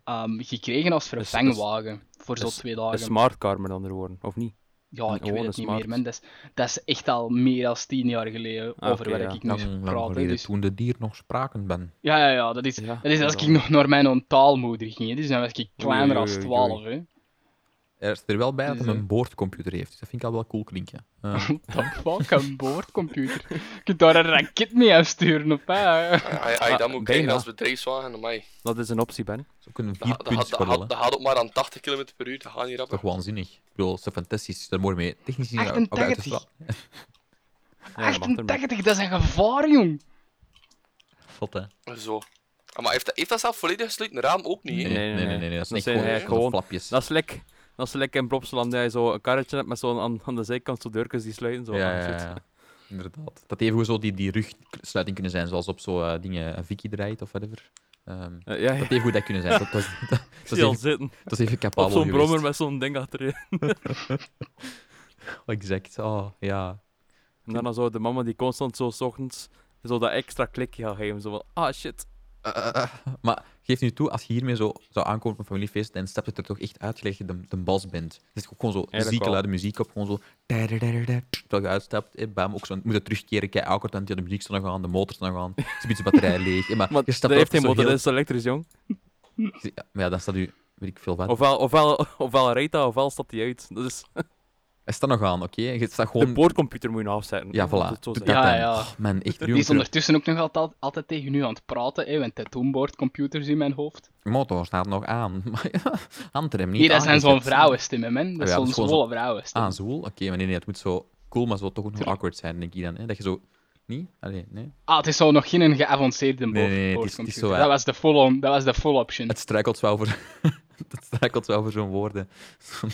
ehm, gekregen als is- vervangwagen. Voor zo'n is- twee Een dagen. smartcar met andere woorden, of niet? Ja, ik dus- Gewoon weet een het niet smart. meer, man. Dat is, dat is echt al meer dan tien jaar geleden Ah, over oké, waar ja. ik lang, nu lang praat. hè, geleden, Dus, toen de dier nog spraken ben. ja, ja, ja, dat is, Ja, dat is als ik inderdaad. nog naar mijn ontaalmoeder ging. hè, Dus dan was ik kleiner Oei, als oei, oei, 12. Hè. Er is er wel bij dat Dus, hij eh, een boordcomputer heeft, dus dat vind ik al wel cool klinken. Eh, Dat fuck, een boordcomputer. Je kunt daar een raket mee afsturen, of hè? Als je Ah, dat ah, moet krijgen bijna. als bedrijfswagen, amai. Dat is een optie, Ben. dat is ook een Dat gaat- dat gaat- dat vierpuntskorrel, gaat- hè. dat gaat ook maar aan 80 km per uur, dat gaat niet Toch rappen. waanzinnig. Ik bedoel, dat is fantastisch. Daar mooi mee. Technisch gezien ook 88. uitgestraald. Ja, dat mag ermee. 88, dat is Ah, een gevaar, jong. Zot, hè. Zo. Ah, Maar heeft dat, heeft dat zelf volledig gesloten raam ook niet? hè? Nee, nee, nee, nee, nee, Dat is Dat niet gewoon, zijn dat eigenlijk is gewoon- flapjes. Dat is lek. Dat is lek in Bropsland, dat je zo een karretje hebt met zo'n aan, aan de zijkant zo deurkens die sluiten. Zo. ja, ja, Ah, shit. ja. Inderdaad. Dat even zo die, die rugsluiting kunnen zijn, zoals op zo'n dingen een Vicky draait of whatever. Ehm, Eh, ja, ja. dat even goed dat kunnen zijn. Dat, dat, is- dat, dat is Stil even, zitten. dat is even capabel Op zo'n geweest. brommer met zo'n ding achterin. Exact. Oh, ja. En daarna zo de mama die constant zo 's ochtends zo dat extra klikje gaat geven. Zo van, ah shit. Eh, eh, eh. Maar geef nu toe, als je hiermee zo zou aankomen op een familiefeest, dan stapt het er toch echt uit dat je de, de bas bent. Er is ook gewoon zo Eigenlijk zieke wel. luide muziek op, gewoon zo... tadadadada, Terwijl je uitstapt, eh, bam, ook zo, moet het terugkeren, kijk, awkward, want ja, de muziek is nog aan, de motor is nog aan, het is een beetje batterij leeg. eh, Maar, Maar je dat stapt heeft geen erop, zo motor, heel- dat is elektrisch, jong. Ja, maar ja, dan staat u, weet ik veel wat. Ofwel, ofwel, ofwel rijdt dat, ofwel stapt hij uit. Dat is... Hij staat nog aan, oké? Je staat De gewoon... boordcomputer moet je nou afzetten. Ja, laat voilà. het zo Doe dat zeggen. dan. Ja, ja. Oh, man, echt Die is nu ondertussen ook nog altijd, altijd tegen u aan het praten, hè, want dat doen computers in mijn hoofd. motor staat nog aan. Maar ja, handrem niet Hier, dat zijn zo'n aangezet. vrouwenstemmen, man. Ah, Dat ja, zijn dat is gewoon zwolle Ah, vrouwenstemmen. zwoel? Oké, maar nee, nee, het moet zo cool, maar zo toch ook nog Tuurlijk. awkward zijn, denk ik dan. Hè? Dat je zo... Niet? Allee, nee. Ah, het is zo nog geen geavanceerde boord, nee, nee, het is- het is boordcomputer. zo, ja. dat, was de full on, dat was de full option. Het struikelt wel voor... Het struikelt wel voor zo'n woorden.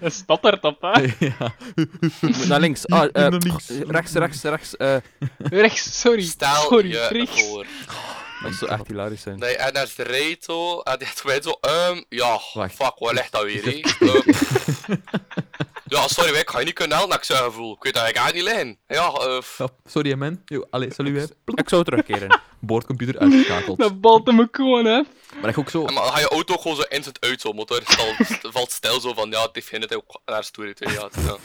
Dat stottert op, hè. ja. Moet Naar links. Ah, eh, Naar links. Rechts, rechts, rechts. eh, Rechts, sorry. Stel sorry, je rechts. voor. dat zou echt hilarisch zijn. Nee, en als de Reto, en die had gewijd zo, ehm, ja, Wacht. fuck, waar ligt dat weer, hè? Ehm, ja, sorry, ik ga je niet kunnen helpen, heb ik zo'n gevoel. Ik weet dat ik aan niet liggen. Ja, eh, f- Oh, sorry, hè, man. Yo, allee, salut, hè. Plop. Ik zou terugkeren. Boordcomputer uitgeschakeld. Dat balt hem ook gewoon, hè. Maar dat je ook zo... en maar ga je auto gewoon zo instant uit, zo, motor. Stel, valt stil zo van, ja, het heeft geen nut, ook naar stoerheid, hè, ja, het- ja.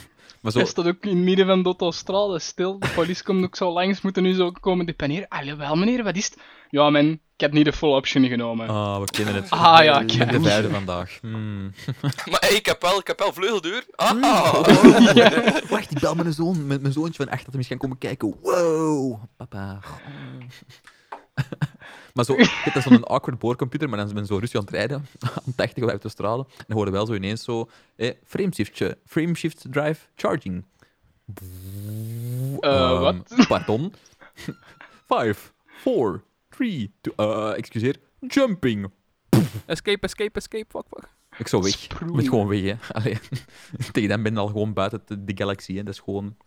Maar zo... Hij staat ook in het midden van de autostrade, stil. De politie komt ook zo langs, moeten nu zo komen. De panier, alhoewel meneer, wat is het? Ja, man, ik heb niet de full option genomen. Ah, we kennen het. Ah ja, Ik ben kijk. de vijfde vandaag. Hmm. Maar hey, ik heb wel, ik heb wel vleugelduur. Ah, ah. Wacht, ik bel mijn zoon. Met mijn zoontje van echt dat hij misschien komen kijken. Wow, papa. maar zo, dit is zo'n awkward boorcomputer, maar dan zijn we zo rustig aan het rijden. Aan 80 op de stralen. En dan hoorde wel zo ineens zo... Eh, frameshiftje. Frameshift drive charging. Eh, Ehm, wat? Pardon? Vijf, four, three, two... eh, excuseer. Jumping. Escape, escape, escape. Fuck, fuck. Ik zou weg. Sproei. Je moet gewoon weg, hè. Allee. Tegen dan ben je al gewoon buiten de, de galaxie, hè. Dat is gewoon...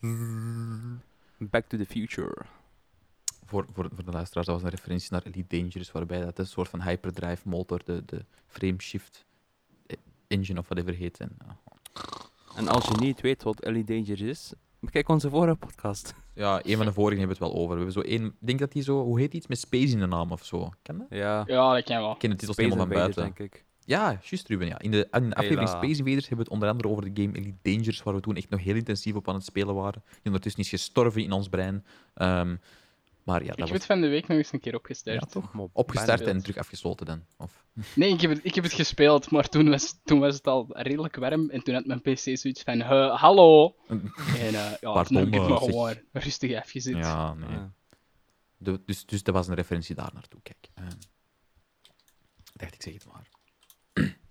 Back to the future. Voor, voor, voor de luisteraars, dat was een referentie naar Elite Dangerous, waarbij dat een soort van hyperdrive motor, de, de frameshift eh, engine of whatever heet. En, ja. En als je niet weet wat Ellie Dangerous is, bekijk onze vorige podcast. ja, een van de vorigen hebben we het wel over. We hebben zo één... Ik denk dat die zo... Hoe heet die? Iets met space in de naam of zo. Ken dat? Ja. Ja, dat kan wel. Ik ken de titels Space helemaal van Invaders, buiten. denk ik. Ja, juist Ruben. Ja. In de, in de aflevering Hela. Space Invaders hebben we het onder andere over de game Elite Dangerous, waar we toen echt nog heel intensief op aan het spelen waren. Die ondertussen is gestorven in ons brein. Ehm, maar ja, dat Ik heb was... het van de week nog eens een keer opgestart. Ja, toch? Maar Opgestart bijna en wild. terug afgesloten dan. Of... Nee, ik heb, het, ik heb het gespeeld, maar toen was, toen was het al redelijk warm. En toen had mijn PC zoiets van: "Huh, hallo! En eh ja, Pardon, toen heb ik het eh, maar zeg. gewoon rustig afgezet. Ja, ah. nee. Ja. De- dus, dus dat was een referentie daar naartoe. Kijk. ehm, ik dacht, ik zeg het maar.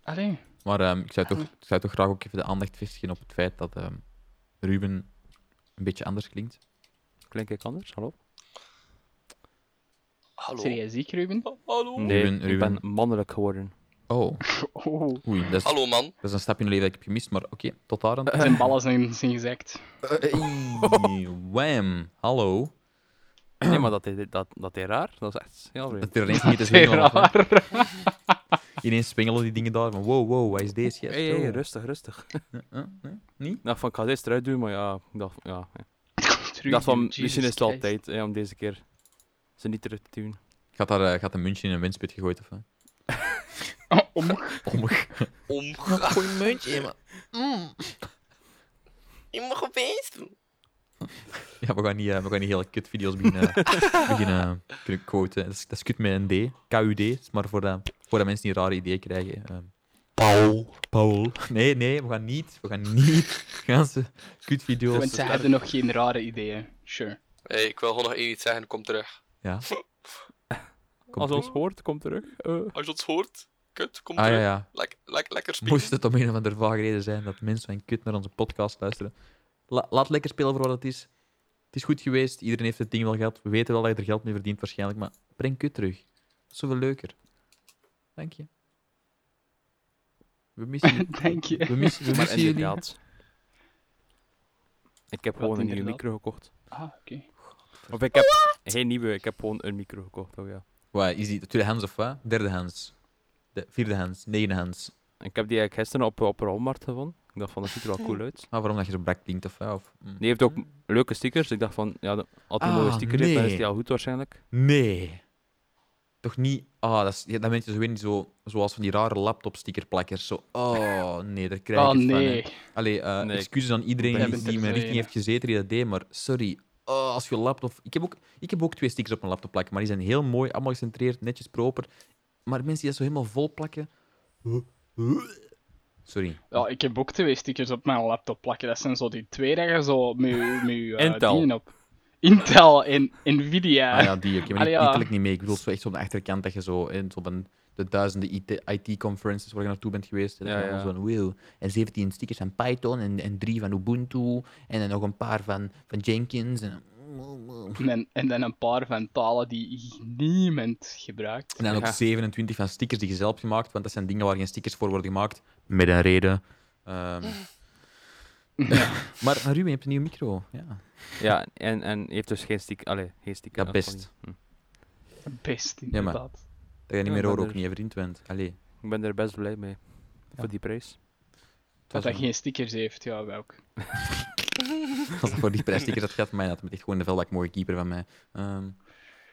Allee. Maar ehm, ik, zou toch, ik zou toch graag ook even de aandacht vestigen op het feit dat ehm, Ruben een beetje anders klinkt. Klink ik anders? Hallo? Serieus Hallo. jij ziek, Ruben? Hallo. Nee, Ruben, ik Ruben. ben mannelijk geworden. Oh, Oh, oei. Dat is, Hallo, man. dat is een stap in mijn leven dat ik heb gemist, maar oké, tot daar dan. zijn ballen zijn, zijn gezakt. Eh, Hey, wham, hallo. Nee, maar dat is, dat, dat is raar. Dat is echt heel vreemd. Dat er ineens niet te Zeer zwingelen. was, hè. raar. Ineens spingelen die dingen daar van wow, wow, wat is deze? Hey, hey, rustig, rustig. Eh, nee, niet? Nou, van ik ga deze eruit doen, maar ja, ik dacht, ja. Ik Ruben, dacht van, Jesus misschien is het Christ. altijd om deze keer ze niet terug te doen. Gaat, daar, eh, gaat een muntje in een winspit gegooid of wat? Oh, om- Om. Om. Gooi muntje, man. Je mag opeens Ja, we gaan niet, eh, we gaan niet hele kutvideo's beginnen, beginnen eh, kunnen quoten. Dat is, dat is kut met een D. KUD, is maar voordat, voordat mensen die rare ideeën krijgen. ehm. Paul. Paul. Nee, nee, we gaan niet. We gaan niet. Ganse kutvideo's. Want ze hadden nog geen rare ideeën. Sure. Hey, ik wil gewoon nog één iets zeggen, kom terug. Ja. Komt Als ons terug. hoort, kom terug. Eh, Als je ons hoort, kut, kom Ah ja, terug. ja. Lek- lek- lekker spelen. Moest het om een of andere vage reden zijn dat mensen van kut naar onze podcast luisteren. La- laat lekker spelen voor wat het is. Het is goed geweest. Iedereen heeft het ding wel gehad. We weten wel dat je er geld mee verdient waarschijnlijk. Maar breng kut terug. Dat is zoveel leuker. Dank je. We missen je. Dank je. We missen, we maar missen jullie. inderdaad. Ik heb gewoon een nieuwe inderdaad? micro gekocht. Ah, oké. Of ik heb geen nieuwe, ik heb gewoon een micro gekocht. Oh ja. Wat is die? De tweede hands of wat? Derde hands. De vierde hands. Negende hands. Ik heb die eigenlijk gisteren op, op Rolmarkt gevonden. Ik dacht van, dat ziet er wel cool uit. Ah, waarom dat je zo brak klinkt of wat? Of, mm. Die heeft ook leuke stickers. Ik dacht van, ja, als die Ah, mooie sticker heeft, dan is nee. die al goed waarschijnlijk. Nee. Toch niet. Ah, dat, is, ja, dan ben je zo weer niet zo, zoals van die rare laptop-stickerplakkers. Zo, oh nee, daar krijg ik Oh het van. nee. hè. Allee, eh, Nee, ik- excuses aan iedereen ik die, ben die in mijn er richting twee, heeft gezeten die dat deed, maar sorry. Oh, als je laptop... Ik heb, ook, ik heb ook twee stickers op mijn laptop plakken, maar die zijn heel mooi, allemaal gecentreerd, netjes proper. Maar mensen die dat zo helemaal vol plakken... Sorry. Ja, ik heb ook twee stickers op mijn laptop plakken. Dat zijn zo die twee daar zo met met, eh, Intel. dingen op. Intel en Nvidia. Ah ja, die. Ik Allee, okay, ja. ja. niet mee. Ik bedoel, zo echt zo op de achterkant dat je zo in zo van de duizenden IT IT-conferences waar je naartoe bent geweest. En Ja, dan ja. zo'n wow. En 17 stickers van Python en, en drie van Ubuntu. En dan nog een paar van, van Jenkins. En, En, dan- en dan een paar van talen die niemand gebruikt. en dan ook Ja. 27 van stickers die je zelf hebt gemaakt. Want dat zijn dingen waar geen stickers voor worden gemaakt. Met een reden. Ehm, maar, maar Ruben, je hebt een nieuwe micro. Ja. Ja, en, en heeft dus geen stick. Allee, geen stick. Ja, best. hm. Best, inderdaad. Dat je niet meer Ja, maar hoor, ook er- niet je vriend bent. Allee. het Ik ben er best blij mee. Ja. Voor die prijs. was dat hij een- geen stickers heeft, ja, wij ook. Als dat voor die prijsstickers had gehad, mij had het echt gewoon de vuilbak mooie keeper van mij. Ehm,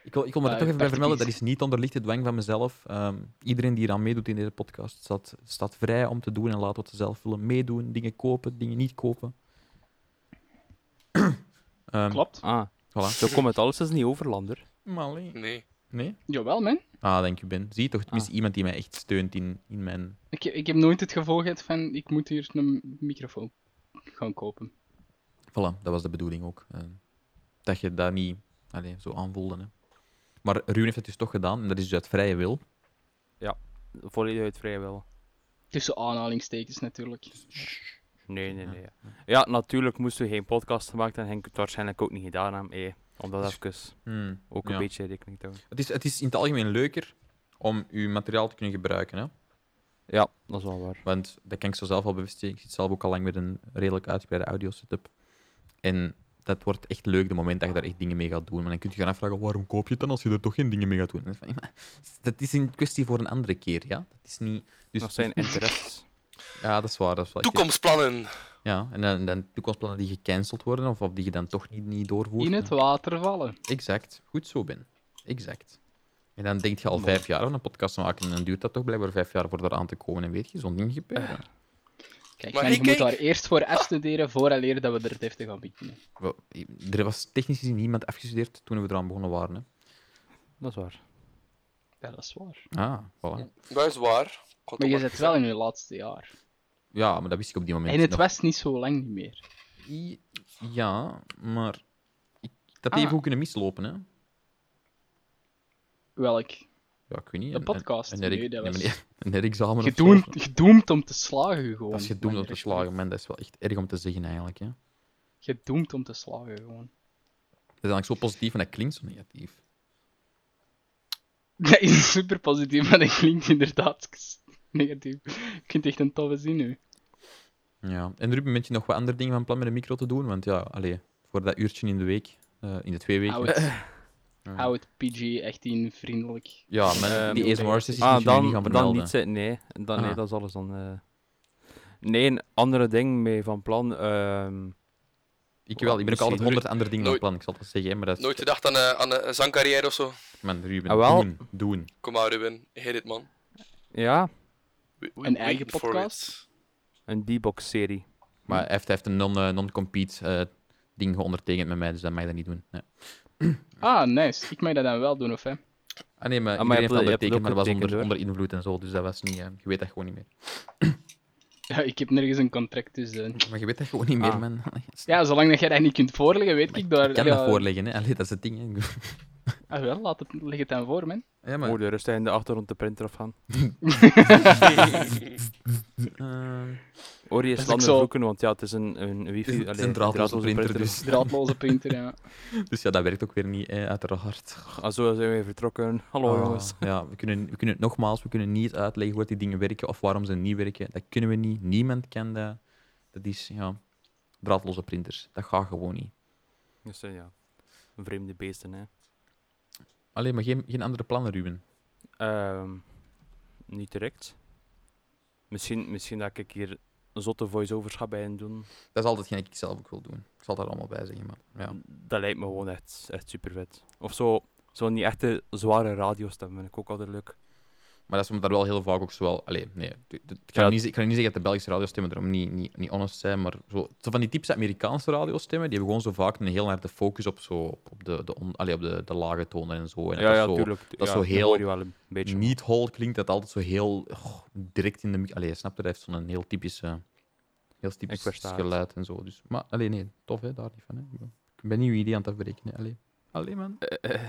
ik wil, ik wil me er Ah, toch even bij 80 vermelden, dat piece. is niet onder lichte dwang van mezelf. Ehm, iedereen die eraan meedoet in deze podcast, staat, staat vrij om te doen en laat wat ze zelf willen. Meedoen, dingen kopen, dingen niet kopen. Ehm, Klopt. Ah, Voilà. zo komt het alles is niet overlander. Malee. Nee. Nee? Jawel, man. Ah, denk je, Ben. Zie je toch, Ah. tenminste iemand die mij echt steunt in, in mijn... Ik, ik heb nooit het gevoel gehad van, ik moet hier een microfoon gaan kopen. Voilà, dat was de bedoeling ook. Ehm, dat je dat niet allee, zo aanvoelde. Hè. Maar Ruben heeft het dus toch gedaan, en dat is dus uit vrije wil. Volledig uit vrijwel. Tussen aanhalingstekens natuurlijk. Nee, nee, nee. Ja. Ja, natuurlijk moesten we geen podcast gemaakt en Henk het waarschijnlijk ook niet gedaan hebben. Eh, om dat even Hmm, ook ja. een beetje rekening te houden. Het is, het is in het algemeen leuker om uw materiaal te kunnen gebruiken. Hè? Ja, dat is wel waar. Want dat kan ik zo zelf al bevestigen. Ik zit zelf ook al lang met een redelijk uitgebreide audio setup. En dat wordt echt leuk de moment dat je daar echt dingen mee gaat doen. Maar dan kun je gaan afvragen: waarom koop je het dan als je er toch geen dingen mee gaat doen? En dan is van, "Ja, Dat is een kwestie voor een andere keer. Ja? Dat is niet. Dus, Dat zijn interesses. Ja, dat is waar. Dat is waar. Toekomstplannen. Ja, en dan, dan toekomstplannen die gecanceld worden of, of die je dan toch niet, niet doorvoert. In het water vallen. Exact. Goed zo, Ben. Exact. En dan denk je al vijf jaar aan een podcast te maken en dan duurt dat toch blijkbaar vijf jaar voor eraan te komen en weet je, zo'n ding gebeuren. Eh. Kijk, Maar man, ik je moet kijk- daar eerst voor afstuderen, vooraleer dat we er het heftig gaan beginnen. Wel, Er was technisch gezien niemand afgestudeerd toen we eraan begonnen waren. Hè. Dat is waar. Ja, dat is waar. Ah, voilà. Dat is waar. God, Maar je wat- zit wel in je laatste jaar. Ja, maar dat wist ik op die moment En het nog was niet zo lang niet meer. I- Ja, maar ik, dat Ah. heeft ook kunnen mislopen, hè? Welk? Ja, ik weet niet. De een- podcast? Een, een, Nee, nee, dat een, was- her- een herexamen of zo. Gedoemd, gedoemd om te slagen gewoon. Dat is gedoemd om te Belangrijk. slagen, man. Dat is wel echt erg om te zeggen, eigenlijk. Hè. Gedoemd om te slagen gewoon. Dat is eigenlijk zo positief en dat klinkt zo negatief. Dat is super positief, maar dat klinkt inderdaad s- negatief. Ik vind het echt een toffe zin nu. Ja. En Ruben, ben je nog wat andere dingen van plan met de micro te doen? Want ja, allee, voor dat uurtje in de week, eh, in de twee weken... Hou het, Ja. hou het Eh, PG echt in vriendelijk. Ja, man, Ehm, die ASMR sessies Ah, moet je nu dan, niet gaan dan vermelden. niet zitten. Nee, dan, nee, Ah. dat is alles dan. eh. Nee, een andere ding mee van plan. ehm, Ik wel, ik ben ook Misschien altijd honderd andere dingen van nooit- plan. Ik zal het wel zeggen, maar dat is... Nooit gedacht aan, eh, aan een zangcarrière of zo. Man, Ruben, Ah, wel. doen, doen. Kom maar, Ruben. Hit it, man. ja, We- we Een eigen waiting for podcast? it. een D-box-serie. Maar hij heeft, hij heeft een non, eh, non-compete eh, ding geondertekend met mij, dus dat mag je dat niet doen. Nee. Ah, nice. Ik mag dat dan wel doen, of hè? Ah nee, maar iedereen Ah, maar je heeft dat hebt- je hebt het betekend, ook maar dat was onder, getekend, onder invloed en zo, dus dat was niet... eh, je weet dat gewoon niet meer. Ja, ik heb nergens een contract, dus... eh. Maar je weet dat gewoon niet meer, Ah. man. Allee, Ja, zolang dat jij dat niet kunt voorleggen, weet ik daar... ik kan ja, dat voorleggen, hè. Allee, dat is het ding, hè. Ah, wel, laat het, leg het dan voor, man. Ja, Maar... maar... Hoorde rustig in de achtergrond de printer afgaan. eh, Hoor je Dat is ook slander zo. vloeken, want ja, het is een, een Het wifi. is een allee, draadloze printer, dus. Draadloze printer, ja. dus ja, dat werkt ook weer niet, eh, uiteraard. Ah, zo zijn we weer vertrokken. Hallo Ah, jongens. Ja, we kunnen, we kunnen nogmaals, we kunnen niet uitleggen hoe die dingen werken of waarom ze niet werken. Dat kunnen we niet. Niemand kan dat. Dat is, ja, draadloze printers. Dat gaat gewoon niet. Dus eh, ja, vreemde beesten, hè. Alleen maar geen, geen andere plannen, Ruben. Ehm, niet direct. Misschien, misschien dat ik hier zotte voice-overs ga bij hen doen. Dat is altijd geen ik zelf ook wil doen. Ik zal daar allemaal bij zeggen, maar ja. Dat lijkt me gewoon echt, echt super vet. Of zo, zo'n niet echte zware radiostem vind ik ook altijd leuk. Maar dat is omdat daar wel heel vaak ook zowel... Allee, nee, het- het- het- ik, ga Ja. niet, ze- ik ga niet zeggen dat de Belgische radiostemmen erom niet, niet, niet honest zijn, maar zo, zo van die typische Amerikaanse radiostemmen, die hebben gewoon zo vaak een heel harde focus op, zo, op op de, de, on- allee, op de, de lage tonen en zo. En dat ja, is ja, zo tuurlijk. is ja, zo heel hoor je wel een beetje. niet hol klinkt, dat altijd zo heel oh, direct in de... mi- Allee, snap je, dat heeft zo'n heel typische... Heel typisch Ik versta het. geluid en zo. Dus, maar, allee, nee, tof, hè, daar niet van. Hè. Ik ben- Ik ben niet wie die aan het afbreken. hè. Allee. allee, man. Eh,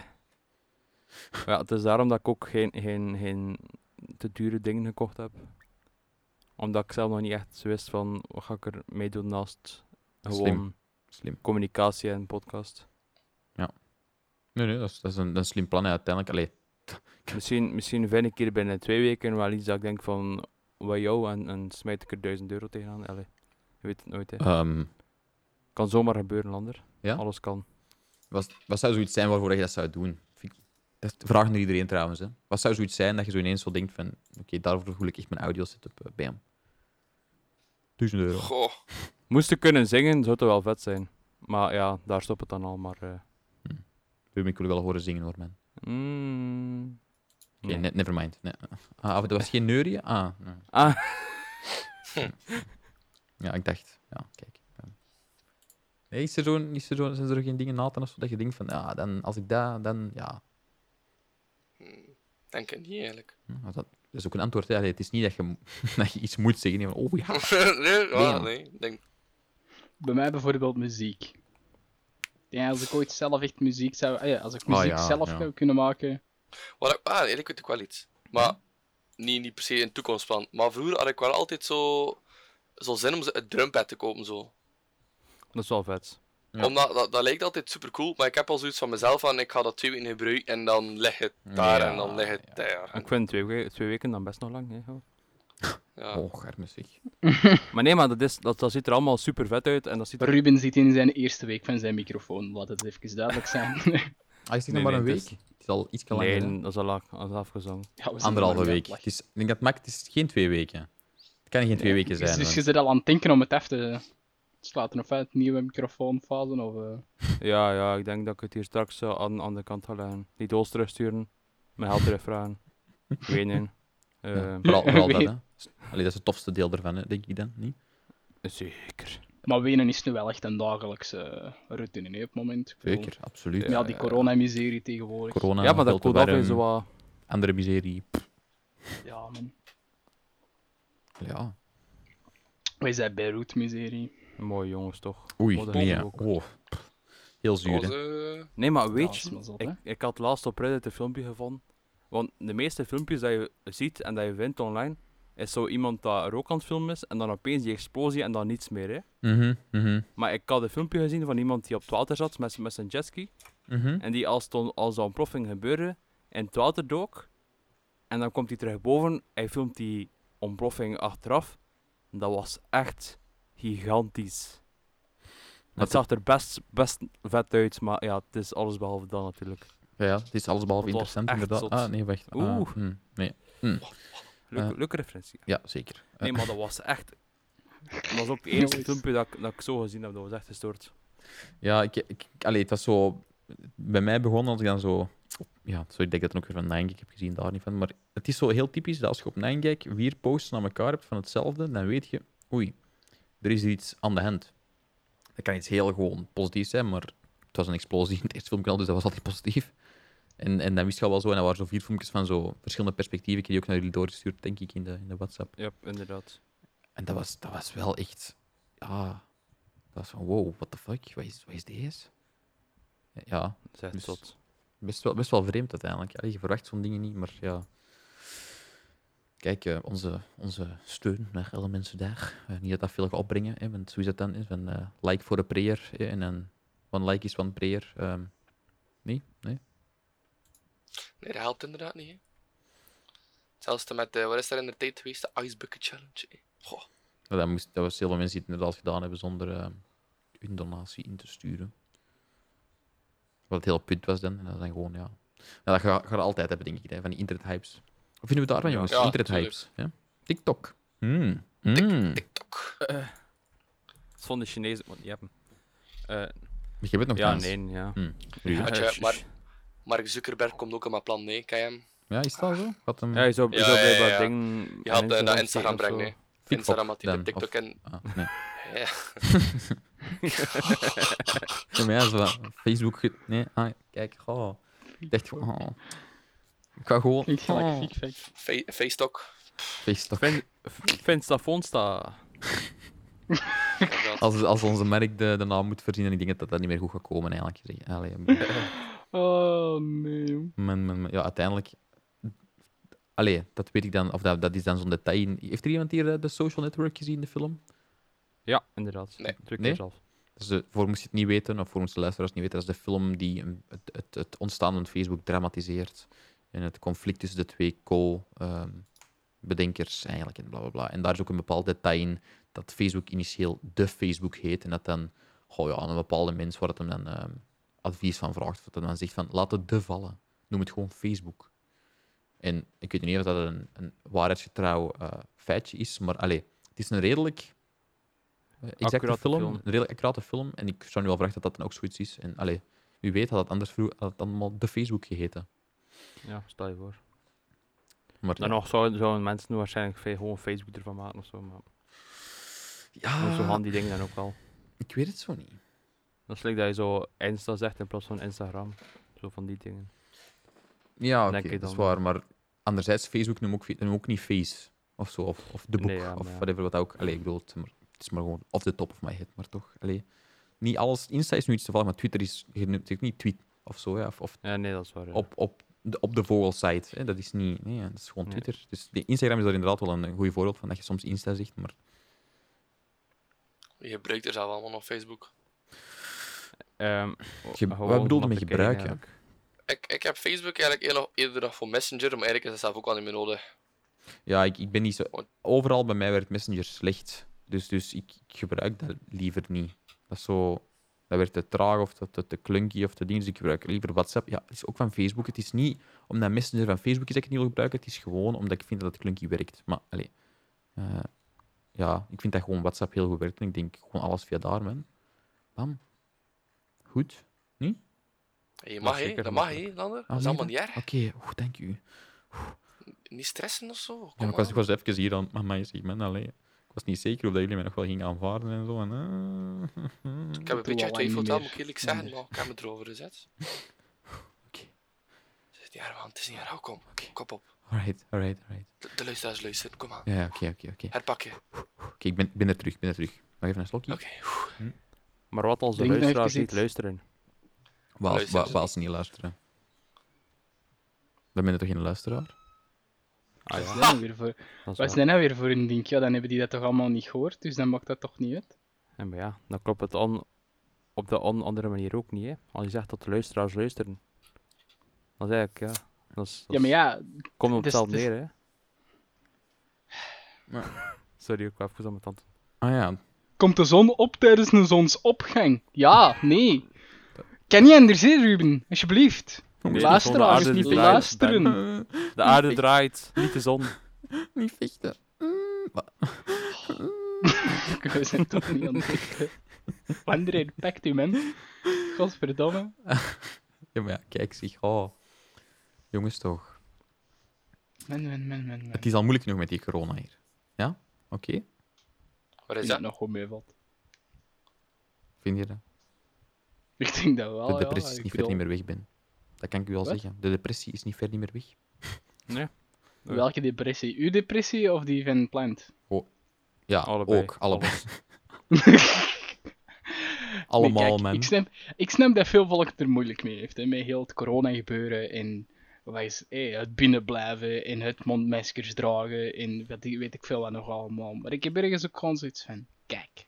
Ja, het is daarom dat ik ook geen, geen, geen te dure dingen gekocht heb. Omdat ik zelf nog niet echt wist van wat ga ik er mee doen naast gewoon Slim. Slim. communicatie en podcast. Nee, nee, dat is, dat is een, dat is een slim plan hè, uiteindelijk. Allee, Misschien, misschien vind ik hier binnen twee weken wel iets dat ik denk van wauw en, en smijt ik er duizend euro tegenaan. Allee, je weet het nooit. Hè. ehm, Kan zomaar gebeuren, Lander. Ja? Alles kan. was, wat zou zoiets zijn waarvoor je dat zou doen? Vind ik- Dat vraagt naar iedereen trouwens. Hè. Wat zou zoiets zijn dat je zo ineens zo denkt van... Oké, daarvoor voel ik echt mijn audio setup eh, bij hem. Duizend euro. Goh, Moest ik kunnen zingen, zou het wel vet zijn. Maar ja, daar stopt het dan al. Maar, eh, Ruben, Ik wil je wel horen zingen hoor, man. mm, Oké, nee. ne- never mind. Nee. Ah, dat was geen neurie? Ah, nee. Ah. ja, ik dacht. Ja, kijk. Ja. Nee, is er zo, is er zo, zijn er geen dingen na te doen of zo dat je denkt van, ja, dan, als ik dat, dan, ja. Hmm. denk ik niet eigenlijk. Hm, want Dat dat is ook een antwoord. Hè. Allee, het is niet dat je, mo- dat je iets moet zeggen. Nee, van, oh ja. nee, ja, Damn. nee. ik Denk, Bij mij bijvoorbeeld muziek. Ja, als ik ooit zelf echt muziek zou... ah ja, als ik Ah, muziek ja, zelf ja. zou kunnen maken... wat ik, ah, eigenlijk weet ik wel iets. Maar niet, niet per se een toekomstplan. Maar vroeger had ik wel altijd zo, zo zin om ze- een drumpad te kopen. Zo. Dat is wel vet. Ja. Omdat, dat, dat lijkt altijd super cool, maar ik heb al zoiets van mezelf van ik ga dat twee weken gebruiken en dan leg het daar en dan leg het Ja, daar. Ik vind twee, we- twee weken dan best nog lang. Hè? hoor. Ja. Oh, arme zeg. Maar nee, maar dat, is, dat, dat ziet er allemaal super vet uit. En dat ziet er... Ruben zit in zijn eerste week van zijn microfoon, laat het even duidelijk zijn. Ah, is het nog Nee, maar een nee, week? het is- Het is al iets langer. hè. Nee, dat is al lang- dat is afgezongen. Ja, we zijn Anderhalve er maar week. mee aan Het het is, ik denk dat het maakt, het is geen twee weken. Het kan geen twee weken lachen. zijn. Dus, dus want- je zit al aan het denken om het af te sluiten of uit, nieuwe microfoonfase of... eh, Ja, ja, ik denk dat ik het hier straks eh, aan, aan de kant ga leggen. Die doos terugsturen, mijn geld terugvragen, wenen. Ja, Eh vooral, vooral dat, Weet- hè. Allee, dat is het tofste deel ervan, hè, denk ik dan, niet? Eh, Zeker. Maar wenen is nu wel echt een dagelijkse eh, routine hè, op het moment. Ik bedoel, Zeker, absoluut. Ja, die coronamiserie tegenwoordig. Corona, ja, maar dat veel te koelt af warm, en zo wat... Andere miserie. Pff, ja, man. Ja. Wij zijn Beirut-miserie. Mooie jongens, toch? Oei, Oh, dat nee, is ja. ook. Oh, pff, Heel zuur, hè. Onze- Nee, maar Ja, weet is je, maar zot, hè. ik, ik had laatst op Reddit een filmpje gevonden. Want de meeste filmpjes dat je ziet en dat je vindt online, is zo iemand dat rook aan het filmen is en dan opeens die explosie en dan niets meer, hè. Mhm, mhm, Maar ik had een filmpje gezien van iemand die op het water zat met, met zijn jetski. mhm. En die als, ton, als dat ontploffing gebeurde, in het water dook. En dan komt hij terug boven. Hij filmt die ontploffing achteraf. En dat was echt gigantisch. Maar het zag er best, best vet uit, maar ja, het is alles behalve dat natuurlijk. Ja, ja, het is allesbehalve Dat was interessant, echt inderdaad. zot. Ah, nee, wacht. Ah, Oeh. hm, nee. Leuke, Eh. leuke referentie. Ja, zeker. Eh, Nee, maar dat was echt. Dat was ook het eerste Nice. filmpje dat, ik- dat ik zo gezien heb. Dat was echt gestoord. Ja, ik, ik, ik- allee, het was zo... Bij mij begon als ik dan zo... Ja, sorry dat ik dat dan ook weer van Nijngek heb gezien, daar niet van. Maar het is zo heel typisch dat als je op Nijngek vier posts aan elkaar hebt van hetzelfde, dan weet je, oei, er is hier iets aan de hand. Dat kan iets heel gewoon positiefs zijn, maar het was een explosie in het eerste filmpje al, dus dat was altijd positief. En, en dan wist je al wel zo, en dat waren zo vier filmpjes van zo verschillende perspectieven. Ik heb die ook naar jullie doorgestuurd, denk ik, in de, in de WhatsApp. Ja, inderdaad. En dat was, dat was wel echt. Ja. Dat was van wow, what the fuck? Wat is, wat is deze? Ja, Dat is echt Dus- zot. best wel, best wel vreemd uiteindelijk. Allee, je verwacht zo'n dingen niet, maar ja. Kijk, eh, onze, onze steun naar alle mensen daar. Eh, niet dat dat veel gaat opbrengen, hè, want zo is dat dan. Is van, eh, like voor de prayer hè, en dan one like is one prayer. ehm. nee? Nee? Nee, dat helpt inderdaad niet. Hè. Zelfs met, eh wat is er in de tijd geweest? De Ice Bucket Challenge. Hè. Goh, Maar Dat, moest, dat was heel veel mensen die het inderdaad gedaan hebben zonder eh, hun donatie in te sturen. Wat het hele punt was dan. En dat is dan gewoon, ja. Ja, dat ga, ga je altijd hebben, denk ik, hè, van die internethypes. Wat vinden we daarvan, jongens? Ja, internethypes. hè? TikTok. Hmm. Hmm. TikTok. Het vonden de Chinezen. Want die hebben. Eh, Ik heb het nog ja, niet. nee, ja. Nu, Ja, Eh, tja, sh- maar- Mark Zuckerberg komt ook aan mijn plan, nee, ken je hem? Ja, is dat zo? Had hem... Ja, je zou, je Ja, zou ja, blijkbaar ja. dingen aan Je had eh, naar steken Instagram of zo. brengen, nee. Fietfop Instagram had die dan, de TikTok of- en... Ah, nee. Ja. Ja, maar ja, zo wat Facebook... ge- Nee, ah, kijk. Oh. Ik dacht gewoon... Oh. Ik ga gewoon... Ik ga Oh. lekker fiek, fiek. Fe- Facebook. Facebook. Vin- v- Finsta Fonsta. inderdaad. Als, als onze merk de, de naam moet verzinnen, ik denk dat dat niet meer goed gaat komen, eigenlijk. gezegd. Allee, Oh nee, jong. men, men, men- ja, uiteindelijk... Allee, dat weet ik dan... Of dat, dat is dan zo'n detail. in- Heeft er iemand hier eh, de Social Network gezien, de film? Ja, inderdaad. Nee. Druk Nee? nee? zelf. Dus eh, voor moest je het niet weten, of voor onze luisteraars niet weten, dat is de film die een- het, het, het ontstaan van Facebook dramatiseert. En het conflict tussen de twee co-bedenkers eigenlijk, en bla bla bla. En daar is ook een bepaald detail in dat Facebook initieel de Facebook heet. En dat dan, goh ja, aan een bepaalde mens waar het hem dan ehm, advies van vraagt, of dat hem dan zegt van laat het de vallen. Noem het gewoon Facebook. En ik weet niet of dat een, een waarheidsgetrouw eh, feitje is, maar allee, het is een redelijk. eh, Exacte Accurate film, film. een redelijk accurate film. En ik zou nu wel vragen dat dat dan ook zoiets is. En allee, wie weet had het anders vroeger had het allemaal de Facebook geheten. Ja, stel je voor. Maar Dan ja, nog zouden, zouden mensen nu waarschijnlijk fe- gewoon Facebook ervan maken of zo. Maar ja, zo gaan die dingen dan ook wel. ik weet het zo niet. Dat is leuk dat je zo Insta zegt in plaats van Instagram. Zo van die dingen. Ja, oké, Denk ik dat is dan. waar. Maar anderzijds, Facebook noemt ook, fe- noemt ook niet Face of zo, of, of de boek, Nee, ja, of maar ja. whatever wat ook. Allee, ik bedoel, het is maar, het is maar gewoon off the top of my head, maar toch. Allee, niet alles. Insta is nu iets te vallen, maar Twitter is, je noemt het niet tweet of zo, ja, of, of Ja, nee, dat is waar. ja. op, op, de, op de vogelsite. Hè. Dat is niet, nee, ja, dat is gewoon Nee. Twitter. Dus de Instagram is daar inderdaad wel een, een goed voorbeeld van, dat je soms Insta zegt, maar Je gebruikt er zelf allemaal nog Facebook. Ehm, Ge- gewoon wat bedoelde om met te kijken gebruik, ja? eigenlijk. Ik, ik heb Facebook eigenlijk eerder nog, eerder nog voor Messenger, maar eigenlijk is dat zelf ook al niet meer nodig. ja, ik, ik ben niet zo... Overal bij mij werd Messenger slecht, dus, dus ik, ik gebruik dat liever niet. Dat is zo... Dat werd te traag of te, te, te clunky of te ding, dus ik gebruik liever WhatsApp. Ja, het is ook van Facebook. Het is niet omdat Messenger van Facebook is dat ik het niet wil gebruiken, het is gewoon omdat ik vind dat het clunky werkt. Maar, allee... eh, ja, ik vind dat gewoon WhatsApp heel goed werkt en ik denk gewoon alles via daar, man. Bam. Goed. Je mag, hè? zeker Dat mag, mogelijk. hè, Lander? Ah, Dat meen is je allemaal niet erg. Oké, oeh, dank u. Niet stressen of zo. Kom Ja, maar ik, was, aan. ik was even hier aan het mij zeg, man, allee. Ik was niet zeker of dat jullie mij nog wel gingen aanvaarden en zo. En, eh, Ik heb een Dat doen beetje we al lang niet getwijfeld, dat meer. moet ik eerlijk zeggen, Nee. maar ik heb me erover gezet. Het is niet erg, man. Het is niet erg. Kom, Oké. kop op. Alright, alright, alright. De, de luisteraars luisteren. Kom aan. Ja, oké, oké, oké. Herpak je. Oké, ik ben, ik ben er terug, ik ben er terug. Nog even een slokje. Oké. Maar wat als de Denk nog luisteraars even niet iets. luisteren? Waar als- Luisteren Waar ze waar als ze niet luisteren. Dan ben je toch geen luisteraar? Ah Wat is ja, dat nou weer voor- dat Wat is is waar. dat nou weer voor een ding? Ja, dan hebben die dat toch allemaal niet gehoord, dus dan maakt dat toch niet uit. Ja, maar ja, dan klopt het on, op de on- andere manier ook niet, hè. Als je zegt dat de luisteraars luisteren. Dat is eigenlijk, ja... Dat is, dat Ja, maar is- ja, Komt op dus- hetzelfde dus- neer, hè. Maar- Sorry, ik wou even aan mijn tand. Ah ja, komt de zon op tijdens een zonsopgang? Ja, nee. Kan niet anders, hè, Ruben? Alsjeblieft. Nee, de Luisteraars, aarde niet draait- beluisteren. De aarde draait, niet de zon. niet vechten. Hm. We zijn toch niet aan het vechten. Wanderer, pakt u, man. Godverdomme. Ja, maar ja, kijk, zeg. Oh. Jongens toch. Man, man, man, man, man. Het is al moeilijk genoeg met die corona hier. Ja? Oké, Waar Ik is denk dat dat? nog goed meevalt. vind je dat? Ik denk dat wel, De depressie Ah, ja. is Ik niet ver bedoel, niet meer weg, Ben. Dat kan ik u al Wat? zeggen. De depressie is niet ver niet meer weg. meer- Welke depressie? Uw depressie of die van Plant? Ja, Allebei. ook. Allebei. Alles. Allemaal, Nee, kijk, man. Ik snap, ik snap dat veel volk het er moeilijk mee heeft. Hè, met heel het corona gebeuren en wat is, hé, het binnenblijven en het mondmaskers dragen en wat, die- weet ik veel wat nog allemaal. Maar ik heb ergens ook gewoon zoiets van, kijk,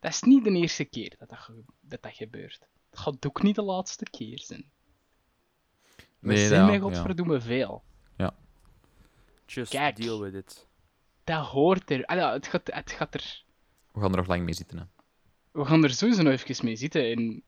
dat is niet de eerste keer dat dat, ge- dat, dat gebeurt. Het gaat ook niet de laatste keer zijn. We zijn dat- met godverdomme veel. Just Kijk. deal with it. Dat hoort er. Ah, ja, het, gaat, het gaat er... We gaan er nog lang mee zitten. Hè. we gaan er sowieso nog even mee zitten. En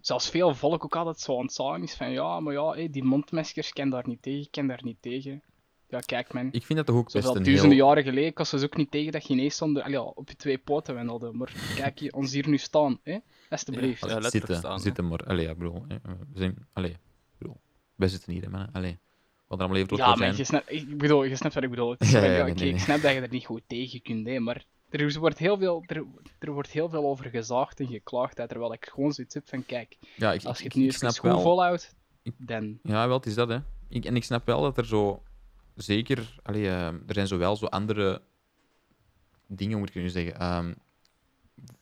zelfs veel volk ook altijd zo aan het zagen is van ja, maar ja, hé, die mondmaskers ken daar niet tegen, ik ken daar niet tegen. Ja, kijk man. Ik vind dat toch ook best Zoveel een duizenden heel... jaren geleden kost ze ook niet tegen dat je ineens zonder, allee, ja, op je twee poten wendelde. Maar kijk je, ons hier nu staan, hè? Alsjeblieft. Ja, letterlijk zitten, staan, hè. zitten maar. Allee, ja, bro. We zijn... Allee, bro. Wij zitten hier, hè, mannen. Allee. Wat er allemaal even Ja, door maar je, zijn. snap, ik bedoel, je snapt wat ik bedoel. Het is Ja, van, ja, ja, nee, oké, nee. Ik snap dat je er niet goed tegen kunt, hè, maar er wordt, heel veel, er, er wordt heel veel over gezaagd en geklaagd, hè, terwijl ik gewoon zoiets heb van, kijk, Ja, ik, als je ik, het nu ik even snap goed wel. volhoudt, Ik- dan... Ja, wel, het is dat, hè. Ik, en ik snap wel dat er zo... Zeker... Allee, eh, er zijn zowel zo andere dingen, hoe moet ik het nu zeggen... ehm,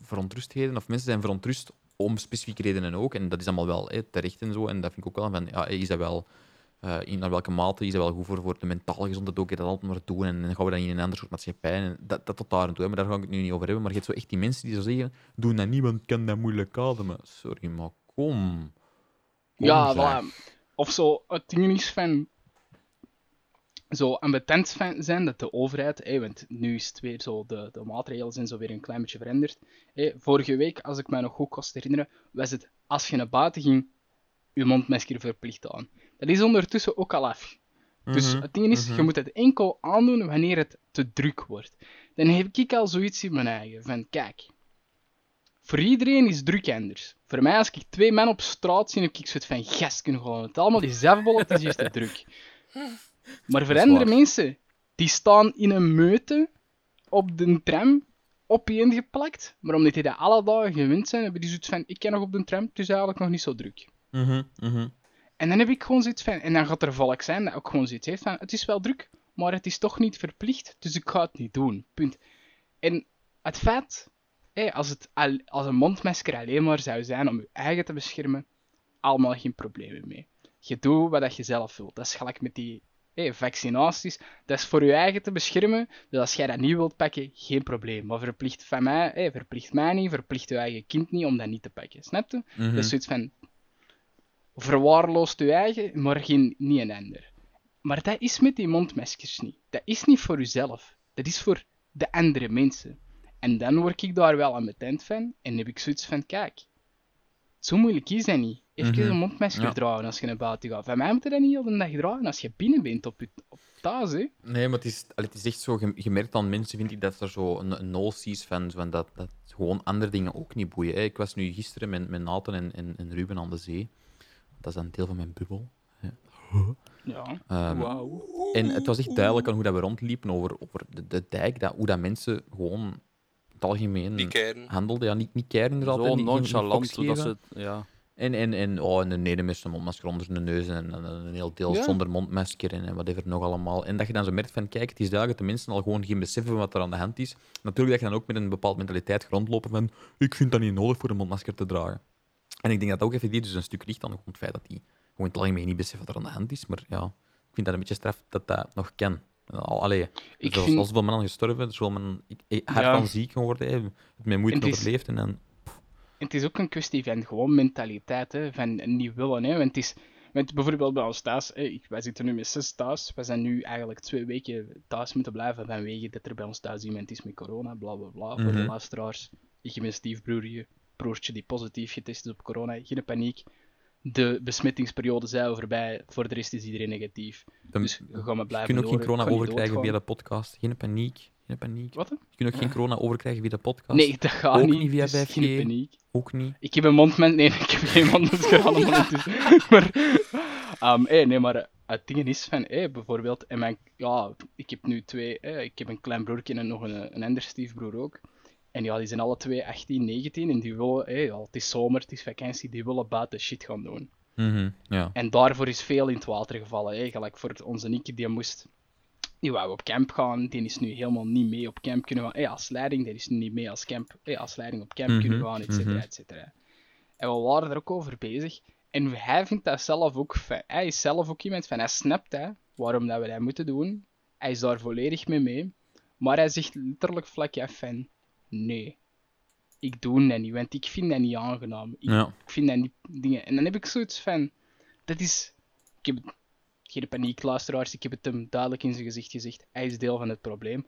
verontrustheden, of mensen zijn verontrust om specifieke redenen ook. En dat is allemaal wel hè, terecht en zo. En dat vind ik ook wel van... Ja, is dat wel... eh, in naar welke mate is dat wel goed voor, voor de mentale gezondheid ook? Is dat altijd maar doen en dan gaan we dan in een ander soort maatschappij. En dat, dat tot daar en toe, hè, maar daar ga ik het nu niet over hebben. Maar je hebt zo echt die mensen die zo zeggen: Doe dat niet, want ik kan dat moeilijk ademen. Sorry, maar kom. Kom, Ja, zeg. voilà. Of zo, het ding is van... Zo ambetant van zijn dat de overheid, hé, want nu is het weer zo, de, de maatregelen zijn zo weer een klein beetje veranderd. Hé, vorige week, als ik mij nog goed kost herinneren, was het als je naar buiten ging, je mondmasker verplicht aan. Dat is ondertussen ook al af. Dus Mhm, het ding is, je mhm. moet het enkel aandoen wanneer het te druk wordt. Dan heb ik al zoiets in mijn eigen, van kijk, voor iedereen is druk anders. Voor mij, als ik twee man op straat zie, heb ik zoiets van, gast, kunnen gewoon het allemaal die zelfbollen, het is hier te druk. Maar voor Dat is andere waar. mensen, die staan in een meute op de tram, opeengeplakt, maar omdat die dat alle dagen gewend zijn, hebben die zoiets van, ik ken nog op de tram, het is eigenlijk nog niet zo druk. Mhm, mhm. En dan heb ik gewoon zoiets van, en dan gaat er volk zijn dat ook gewoon zoiets heeft van, het is wel druk, maar het is toch niet verplicht, dus ik ga het niet doen. Punt. En het feit, hé, als, het al, als een mondmasker alleen maar zou zijn om je eigen te beschermen, allemaal geen problemen mee. Je doet wat dat je zelf wilt. Dat is gelijk met die hé, vaccinaties. Dat is voor je eigen te beschermen. Dus als jij dat niet wilt pakken, geen probleem. Maar verplicht van mij, hé, verplicht mij niet, verplicht je eigen kind niet om dat niet te pakken. Snap je? Mhm. Dus Dat is zoiets van. Verwaarloost je eigen, maar geen, niet een ander. Maar dat is met die mondmaskers niet. Dat is niet voor uzelf. Dat is voor de andere mensen. En dan word ik daar wel aan metent van en heb ik zoiets van: kijk, zo moeilijk is dat niet. Even Mhm. een mondmasker Ja. dragen als je naar buiten gaat. Van mij moet je dat niet heel de dag dragen als je binnen bent op, je, op thuis. Hè? Nee, maar het is, allee, het is echt zo ge- gemerkt aan mensen, vind ik, dat er zo een, een notie is van, zo van dat, dat gewoon andere dingen ook niet boeien. hè. Ik was nu gisteren met, met Nathan en, en, en Ruben aan de zee. Dat is dan een deel van mijn bubbel. Ja. Ehm, En het was echt duidelijk aan hoe dat we rondliepen over, over de, de dijk, dat, hoe dat mensen gewoon in het algemeen Die kern. handelden. Ja, niet, niet keren inderdaad. en Zo niet- geen- geen nonchalant fucks dat geven. ze... Ja. En, en, en, oh, en de neder met zijn mondmasker onder zijn neus en, en- en een heel deel Ja. zonder mondmasker en, en whatever nog allemaal. En dat je dan zo merkt van, kijk, het is duidelijk dat de mensen al gewoon geen besef hebben wat er aan de hand is. Natuurlijk dat je dan ook met een bepaalde mentaliteit rondlopen van, ik vind dat niet nodig voor een mondmasker te dragen. En ik denk dat dat ook effectief dus een stuk ligt aan gewoon het feit dat die gewoon in het algemeen niet beseffen wat er aan de hand is. Maar ja, ik vind dat een beetje straf dat dat nog kan. Al- Allee, Ik ik zoals, vind- als zoveel mannen gestorven, zoveel mannen ik, ik, hard Ja. aan ziek geworden, hè, het met moeite Het is- overleefd en dan... En het is ook een kwestie van gewoon mentaliteit, hè, van niet willen. Hè, want het is, want bijvoorbeeld bij ons thuis, hè, ik- wij zitten nu met zes thuis. Wij zijn nu eigenlijk twee weken thuis moeten blijven vanwege dat er bij ons thuis iemand is met corona, bla bla bla. Voor de Mhm. luisteraars, ik heb een stiefbroertje, broertje die positief getest is op corona, geen paniek. De besmettingsperiode zijn voorbij, voor de rest is iedereen negatief. dan- Dus we gaan maar Je blijven kunt ook geen door, corona kan niet overkrijgen via doodgaan. de podcast. Geen paniek. Geen paniek. Wat? hè? Je kunt ook geen corona overkrijgen via de podcast. Nee, dat gaat Ook niet. niet via dus 5G. geen paniek. Ook niet. Ik heb een mondmasker. Nee, ik heb geen mondmasker aan ondertussen. maar, ehm, eh, nee, maar eh, het ding is van, eh, bijvoorbeeld, en mijn, ja, ik heb nu twee, eh, ik heb een klein broertje en nog een, een ander stiefbroer ook. En ja, die zijn alle twee 18, 19 en die willen, eh, ja, het is zomer, het is vakantie, die willen buiten shit gaan doen. Mhm, Ja. En daarvoor is veel in het water gevallen. Hè. Gelijk voor onze Nicky, die moest. Die wou op camp gaan, die is nu helemaal niet mee op camp kunnen gaan. Hey, als leiding, die is nu niet mee als, camp, hey, als leiding op camp Mhm, kunnen gaan, et cetera, mhm. et cetera. En we waren er ook over bezig. En hij vindt dat zelf ook fijn. Hij is zelf ook iemand van, hij snapt hè, waarom dat we dat moeten doen. Hij is daar volledig mee mee. Maar hij zegt letterlijk vlakje af van, nee, ik doe dat niet, want ik vind dat niet aangenaam. Ik ja. ik vind dat niet dingen. En dan heb ik zoiets van, dat is, ik heb het- geen paniek luisteraars, ik heb het hem duidelijk in zijn gezicht gezegd, hij is deel van het probleem.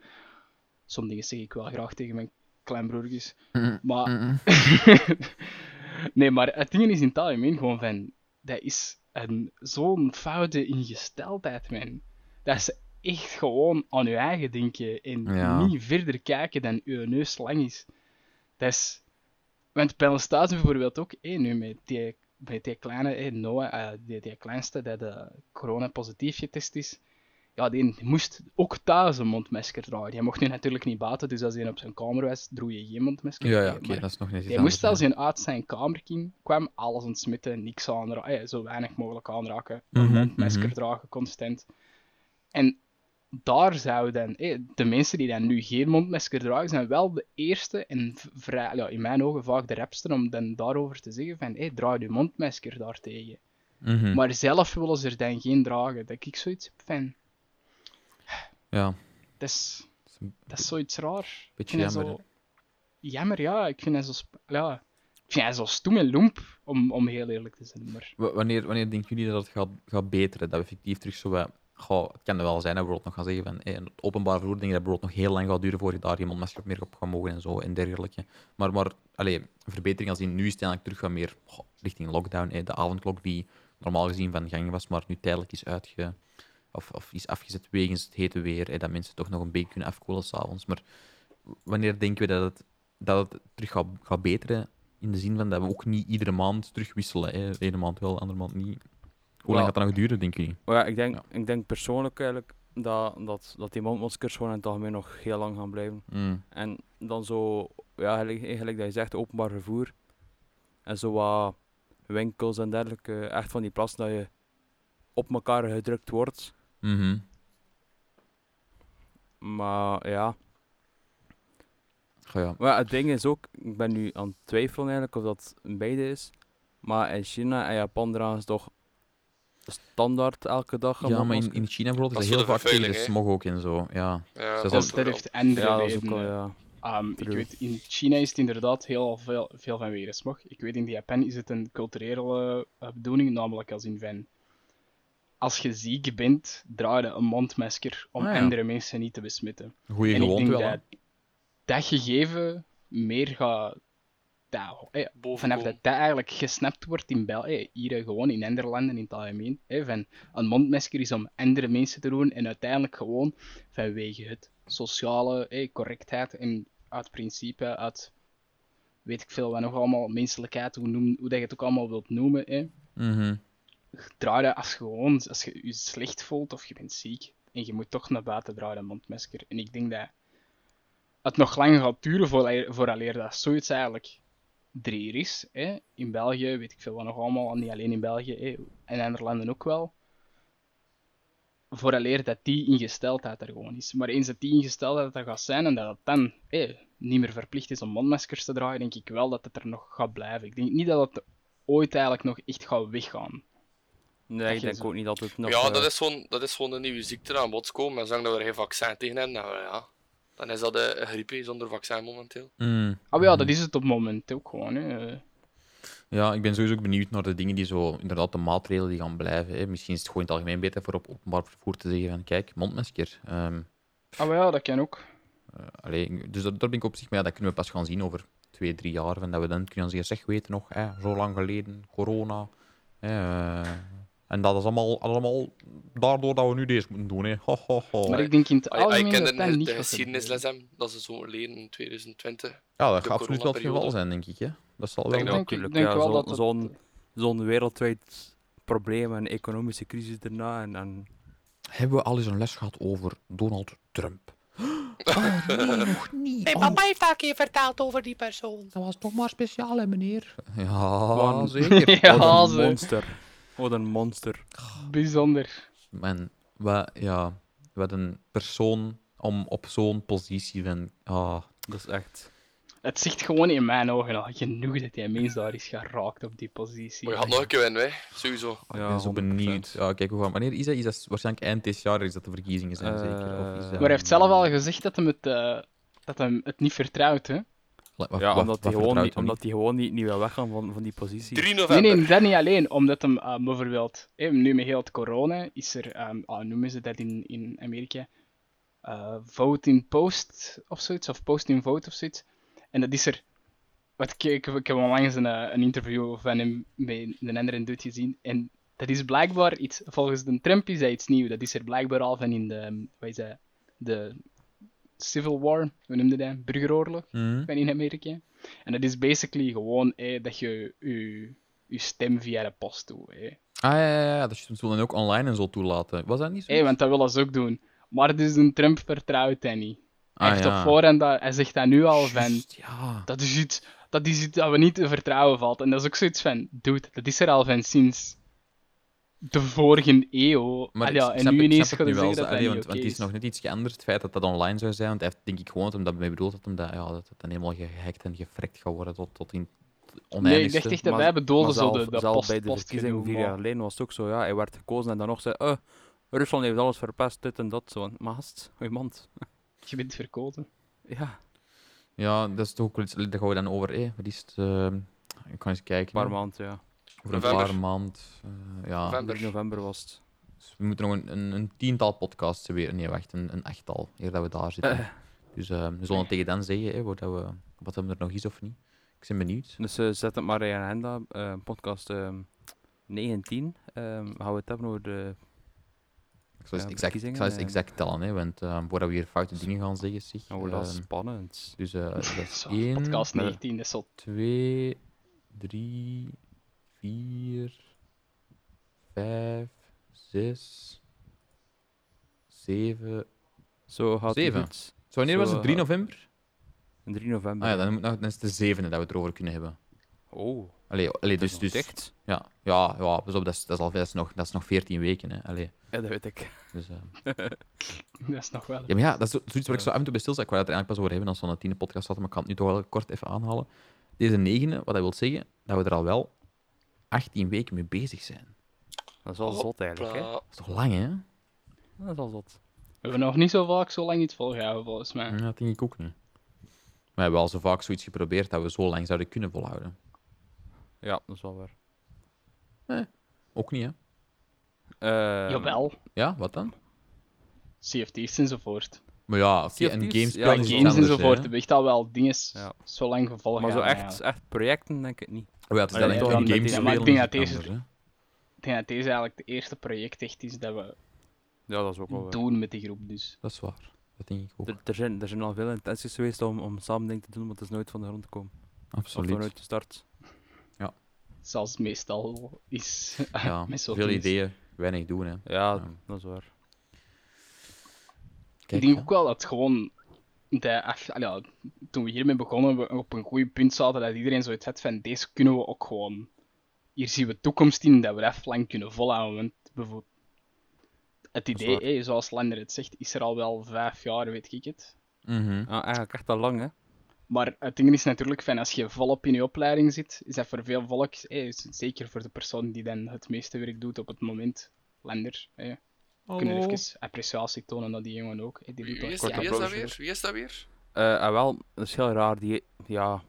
Sommige dingen zeg ik wel graag tegen mijn kleinbroertjes, Mm. maar, nee, maar het ding is in het algemeen gewoon van, dat is een, zo'n foute ingesteldheid, man. Dat is echt gewoon aan je eigen denken en Ja. niet verder kijken dan je neus lang is. Dat is... Want bij ons thuis bijvoorbeeld ook, hé, eh, nu met die bij die kleine, eh, Noah, eh, die, die kleinste, die de corona positief getest is, ja, die moest ook thuis een mondmasker dragen. Die mocht nu natuurlijk niet buiten, dus als hij op zijn kamer was, droeg je geen mondmasker. Ja, ja Eh, oké, maar dat is nog net iets hij anders, moest als ja. hij uit zijn kamer ging, kwam, alles ontsmitten, niks aanraken, eh, zo weinig mogelijk aanraken, Mhm, een masker mhm. dragen, constant. En daar zouden eh, de mensen die dan nu geen mondmasker dragen, zijn wel de eerste en v- vrij, ja, in mijn ogen vaak de rapste om dan daarover te zeggen van, eh, draai je mondmasker daartegen. Mhm. Maar zelf willen ze er dan geen dragen. Dat ik zoiets heb van, Ja, dat dat is, is een dat is zoiets raar. Ik beetje vind dat jammer. Zo... Jammer, ja. Ik vind dat zo, sp- ja. Ik vind dat zo stoem en lomp, om, om heel eerlijk te zijn. Maar... W- wanneer, wanneer denken jullie dat het gaat, gaat beteren? Dat we effectief terug zo wat... Goh, het kan er wel zijn dat we nog gaan zeggen van... eh, het openbaar vervoer denk ik dat bijvoorbeeld nog heel lang gaat duren voordat daar iemand masker meer op gaat mogen en zo en dergelijke. Maar, maar allee, een verbetering als in nu is het eigenlijk terug gaan meer goh, richting lockdown. eh, de avondklok die normaal gezien van gang was, maar nu tijdelijk is uitge... Of, of is afgezet wegens het hete weer. eh, dat mensen toch nog een beetje kunnen afkoelen s'avonds. Maar w- wanneer denken we dat het, dat het terug gaat, gaat beteren? In de zin van dat we ook niet iedere maand terugwisselen. Hè. De ene maand wel, de andere maand niet. Hoe Wel- lang gaat dat nog duren, denk je? Maar ja, ik denk, Ja. ik denk persoonlijk eigenlijk dat, dat, dat die mondmaskers gewoon in het algemeen nog heel lang gaan blijven. Mm. En dan zo, ja, eigenlijk, eigenlijk dat je zegt, openbaar vervoer. En zo wat winkels en dergelijke. Echt van die plaatsen dat je op elkaar gedrukt wordt. Mhm. Maar ja. Goh, ja. Maar het ding is ook, ik ben nu aan het twijfelen eigenlijk of dat beide is. Maar in China en Japan dragen ze toch standaard elke dag een ja, maar in, mondmasker? in China bijvoorbeeld Dat is is dat heel voor vaak de tegen de vervuiling, smog ook en zo. Ja. Dat Ja, dat, wel- Dat, is dat wel- heeft andere Ja, dat is ook redenen. wel, ja. Ehm, ik True. weet, in China is het inderdaad heel veel, veel van weersmog. Ik weet, in Japan is het een culturele eh, bedoeling, namelijk als in van... Als je ziek bent, draai je een mondmasker om Ah, ja. andere mensen niet te besmetten. Goeie en ik gewoonte denk wel. hè. dat dat gegeven meer gaat... Dat, eh, vanaf bovenkomen. dat dat eigenlijk gesnapt wordt in België, hier eh, gewoon in Nederlanden in het algemeen, hè, van een mondmasker is om andere mensen te doen en uiteindelijk gewoon vanwege het sociale hè, correctheid en uit principe, uit weet ik veel wat nog allemaal, menselijkheid, hoe, noem, hoe dat je het ook allemaal wilt noemen, hè, Mhm. draai dat als je gewoon, als je je slecht voelt of je bent ziek en je moet toch naar buiten draaien, dat mondmasker. En ik denk dat het nog lang gaat duren vooraleer, vooraleer dat zoiets eigenlijk er hier is. Hè? In België, weet ik veel wat nog allemaal, niet alleen in België, hè? in andere landen ook wel. Vooraleer dat die ingesteldheid er gewoon is. Maar eens dat die ingesteldheid er gaat zijn en dat het dan hè, niet meer verplicht is om mondmaskers te dragen, denk ik wel dat het er nog gaat blijven. Ik denk niet dat het ooit eigenlijk nog echt gaat weggaan. Nee, ik je denk zo- ook niet dat het nog... ja, eh, dat is, gewoon, dat is gewoon een nieuwe ziekte aan bod komen. En zolang dat we er geen vaccin tegen hebben, nou ja, dan is dat eh, een griepje zonder vaccin momenteel. Mm. Ah, Mhm. ja, dat is het op het moment ook gewoon. Hè. Ja, ik ben sowieso ook benieuwd naar de dingen die zo, inderdaad, de maatregelen die gaan blijven. Hè. Misschien is het gewoon in het algemeen beter voor op openbaar vervoer te zeggen van, kijk, mondmasker. Ehm, Ah, maar ja, dat kan ook. Allee, ik- dus dat, dat ben ik op zich, maar ja, dat kunnen we pas gaan zien over twee, drie jaar. En dat we dan kunnen zeggen, zeg, weten nog, hè, zo lang geleden, corona. Hè, eh, en dat is allemaal, allemaal daardoor dat we nu deze moeten doen. Hè. Ho, ho, ho. Maar ik denk in het Ah, ja, Ik algemeen ken dat dat de, niet de gaat geschiedenisles gebeuren. hem, dat ze zo leren in 2020. ja, dat de gaat absoluut wel het geval coronaperiode. zijn, denk ik. Hè. Dat zal wel Denk Ik dat wel. denk, ik natuurlijk, denk ja, wel zo- dat het- zo'n- zo'n wereldwijd probleem en economische crisis daarna. En, en Hebben we al eens een les gehad over Donald Trump? Oh, nee, nog niet. Mijn Oh, papa heeft al een keer verteld over die persoon. dat was toch maar speciaal, hè, meneer? Ja, Waarom- zeker. Oh, Ja, wat een ze, monster. Wat een monster. bijzonder. Man, wat, ja, wat een persoon om op zo'n positie van... ah, Dat is echt... Het zegt gewoon in mijn ogen al genoeg dat die mens daar is geraakt op die positie. Maar je gaat nog een keer winnen, hè. sowieso. Ik Ja, ben zo 100%. benieuwd. Ja, kijk, hoe gaan... Wanneer is dat? Is dat waarschijnlijk eind dit jaar is dat de verkiezingen zijn, zeker? Of is dat... Eh, Maar hij heeft zelf al gezegd dat hem het, eh, dat hem het niet vertrouwt, hè? Wa- wa- Ja, wa- omdat wa- die gewoon, vertrouwt niet, hem omdat die gewoon niet, niet wil weggaan van, van die positie. 3 Nee, november. nee, dat niet alleen. Omdat hem eh, bijvoorbeeld, hè, nu met heel het corona, is er, ehm, ah, noemen ze dat in, in Amerika, eh, vote in post of zoiets, of post in vote of zoiets. En dat is er, wat ik, ik, ik heb onlangs een, eh, een interview van hem met een andere dude gezien. En dat is blijkbaar iets, volgens de Trump is dat iets nieuws. Dat is er blijkbaar al van in de, ehm, wat is dat, de Civil War, hoe noemde dat, burgeroorlog niet. Mhm. ben in Amerika. En dat is basically gewoon eh, dat je je, je stem via de post toe. Hé, Ah, ja, ja, ja, dat je het dan ook online en zo toelaten. Was dat niet zo? Hé, want dat willen ze ook doen. Maar dus een Trump vertrouwt dat niet. Hij Ah, heeft ja. op voorhand, dat- hij zegt dat nu al van, Juist, ja. dat is iets dat, is iets dat we niet te vertrouwen valt. En dat is ook zoiets van, dude, dat is er al van sinds de vorige eeuw. Maar Ah ik ja, snap- en ik snap nu het ineens nu gaan ze wel, zeggen zo, dat dat allee, niet want, oké want het is nog net iets geënderd, het feit dat dat online zou zijn. Want hij heeft, denk ik gewoon dat hem dat mee bedoeld had, omdat ja, dat het dan helemaal gehackt en gefrekt gaat worden tot, tot in het Nee, oneindigste. ik dacht echt dat Maar- wij bedoelden Maar zo de, zelf- de zelf post, bij de post verkiezingen vier jaar geleden was het ook zo. Ja, hij werd gekozen en dan nog zei eh, Rusland heeft alles verpest, dit en dat. Zo. Maar gast, hou je mond. Je bent verkozen. Ja, Ja, dat is toch ook wel iets, daar gaan we dan over. Eh, wat is het? eh, ik kan eens kijken. een paar hè. maanden, ja. Over een November. paar maand. eh, ja, November. 3 november was het. Dus we moeten nog een, een, een tiental podcasts weer. Nee, wacht, een, een achttal. Eer dat we daar zitten. Eh, Dus eh, we zullen het tegen dan zeggen hè, wat, dat we, wat hem er nog is of niet. Ik ben benieuwd. dus eh, zet het maar in je agenda. eh, podcast ehm, 19. ehm gaan we het hebben over de... Ik zal eens Ja, exact, ik zal eens verkiezingen, eh. exact tellen, hè, want eh voordat we hier foute dingen gaan zeggen, zeg. Oh, dat is ehm, spannend. dus eh dat is Zo, 1, podcast 19, dat is zo 2, 3, 4, 5, 6, 7. Zo gaat het Zeven. goed. Zo, wanneer was Zo, het? 3 eh, november? 3 november. Ah ja, dan, moet nog- dan is het de zevende dat we het erover kunnen hebben. Oh, Allee, allee dat is dus, nog dus dicht. Ja, ja, ja pas op, dat is, dat is al dat is nog, dat is nog 14 weken. Hè. Allee, Ja, dat weet ik. dus, eh, Dat is nog wel. ja, maar ja, dat is zo- zoiets waar ik zo af en toe bij stilsta. Ik wou dat er eigenlijk pas over hebben als we aan de tiende podcast hadden, maar ik kan het nu toch wel kort even aanhalen. Deze negende, wat dat wil zeggen, dat we er al wel 18 weken mee bezig zijn. Dat is al zot eigenlijk, hè? Bla- Dat is toch lang, hè? Dat is al zot. We hebben nog niet zo vaak zo lang iets volgehouden, volgens mij. Ja, dat denk ik ook niet. We hebben al zo vaak zoiets geprobeerd dat we zo lang zouden kunnen volhouden. Ja, dat is wel waar. Ook niet, hè? Ehm, Jawel, Ja, wat dan? CFT's enzovoort. Maar ja, oké, Sea of en Thieves? games Ja, spelen is iets Games anders, hè. enzovoort, we hebben echt al wel dingen Ja. zo lang gevolgd. Ehm, Maar zo echt, echt projecten denk ik niet. Oh ja, het is Ja, dan echt ja, wel ja, een ja, games ja, spelen maar ik is denk iets dat deze- anders, hè. Ik denk dat deze eigenlijk het eerste project echt is dat we Ja, dat is ook Oh, wel waar. doen met die groep, dus. Dat is waar. Dat denk ik ook. Er, er zijn, er zijn al veel intenties geweest om, om samen dingen te doen, maar het is nooit van de grond gekomen. Of Absoluut. vanuit de start. Zoals meestal is. Ja, met zo'n veel teams. ideeën, weinig doen. Hè. Ja, Ja. dat is waar. Kijk, ik denk hè. ook wel dat gewoon. Dat, af- ah ja, toen we hiermee begonnen, we op een goed punt zaten dat iedereen zoiets had van deze kunnen we ook gewoon. Hier zien we toekomst in dat we dat lang kunnen volhouden. Want bijvoorbeeld, het is idee, waar. hè, zoals Lander het zegt, is er al wel vijf jaar, weet ik het. Mhm. Ah, eigenlijk echt al lang, hè? Maar het ding is natuurlijk van als je volop in je opleiding zit, is dat voor veel volk, hè, is het zeker voor de persoon die dan het meeste werk doet op het moment, Lander. Hè, we kunnen even appreciatie tonen naar die jongen ook. Hè, die Wie doet dat. wie is, Korte wie is dat applaus, weer? Wie is dat weer? Eh, en wel, dat is heel raar. Die, ja,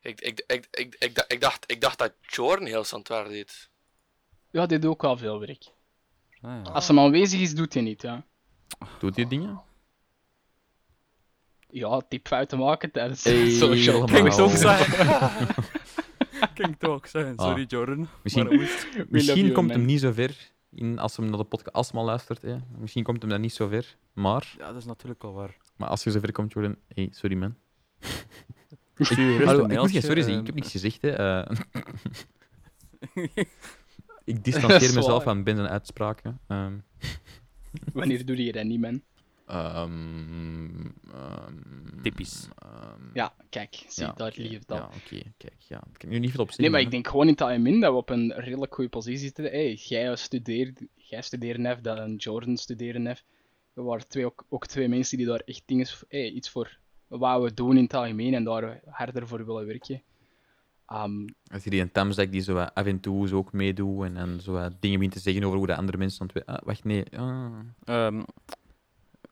Ik, ik, ik, ik, ik, dacht- ik, dacht, ik dacht dat Jorn heel Santwaar deed. Ja, die doet ook wel veel werk. ah, ja. Als hem aanwezig is, doet hij niet, ja. Doet je dingen? Ja, typfouten maken tijdens Hey, social helemaal. media. Klinkt ook zo. Klinkt ook zijn, Ah. sorry Jordan. Misschien, Maar dat moest. misschien you, komt man. hem niet zo ver in, als hem naar de podcast als hem al luistert. Hè. Misschien komt hem daar niet zo ver. Maar, Ja, dat is natuurlijk wel waar. maar als je zo ver komt, Jordan. Hey, sorry man. Hallo, Hallo, ik moet geen sorry zeggen. Ik heb niks gezegd. Hè. Eh, ik Dat distancieer is mezelf waar. van Ben zijn uitspraken. Ehm, Wanneer doe je dat niet, man? ehm, ehm, Typisch. ehm, Ja, kijk, zie, ja, daar oké, lief dat. Ja, oké. Kijk, ja. Ik kan nu niet veel op Nee, zeggen, maar hè. ik denk gewoon in het algemeen dat we op een redelijk goede positie zitten. Hey, jij studeert, jij studeert nef, dat een Jordan studeert nef. Er waren twee, ook, ook twee mensen die daar echt dingen, v- hey, iets voor wouden doen in het algemeen en daar harder voor willen werken. Ehm, Als je die een Tamzak die zo wat af en toe zo ook meedoet en, en zo wat dingen begint te zeggen over hoe de andere mensen aan het we- Ah, wacht, nee. Ah. Ehm,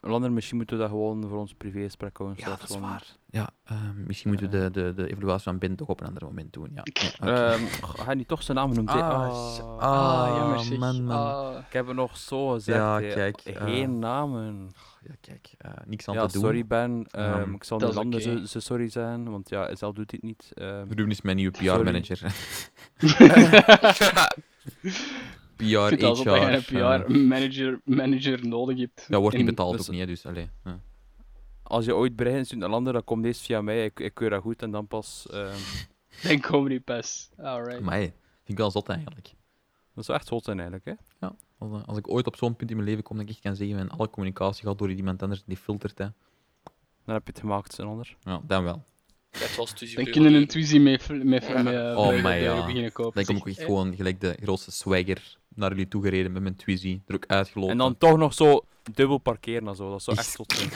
Lander, misschien moeten we dat gewoon voor ons privégesprek houden. Ja, zodat dat is gewoon- waar. Ja, ehm, misschien moeten we de, de, de evaluatie van Ben toch op een ander moment doen. Ja. Ja, oké. Ehm, ga je niet toch zijn naam noemen? Ah, Ah, s- eh, ah, ah, jammer zeg. man, man. Ah. Ik heb er nog zo gezegd. Ja, hè. kijk, Geen eh, namen. Ja, kijk, eh, niks aan Ja, te doen. sorry Ben. Ehm, Ehm, ik zal dat de is landen oké. zo, zo sorry zijn, want ja, hij zelf doet dit niet. Ehm, Ruben is mijn nieuwe Sorry. PR-manager. PR, Ik vind het alsof HR. dat je eh, een PR-manager manager nodig hebt. dat wordt niet En- betaald dus- ook niet, hè, dus allee. ja. als je ooit berichten stuurt naar landen, dan komt deze via mij. Ik, ik keur dat goed en dan pas. ehm, Dan komen die pas. Alright. Maar hey, Vind ik wel zot eigenlijk. Dat zou echt zot zijn eigenlijk, hè? Als, eh, als ik ooit op zo'n punt in mijn leven kom dat ik echt kan zeggen: mijn alle communicatie gaat door iemand anders die filtert. Hè. Dan heb je het gemaakt, zijn ander. Ja, dan wel. Net zoals Tuzi Dan kunnen een Twizy mee, fl- mee, fl- Ja. mee, eh, Oh mee- my mee ja. beginnen kopen. Dan kom ik zeg. echt gewoon gelijk de grootste swagger naar jullie toegereden met mijn Twizy, er ook uitgelopen. En dan toch nog zo dubbel parkeren en zo. Dat zou echt Is- zot zijn.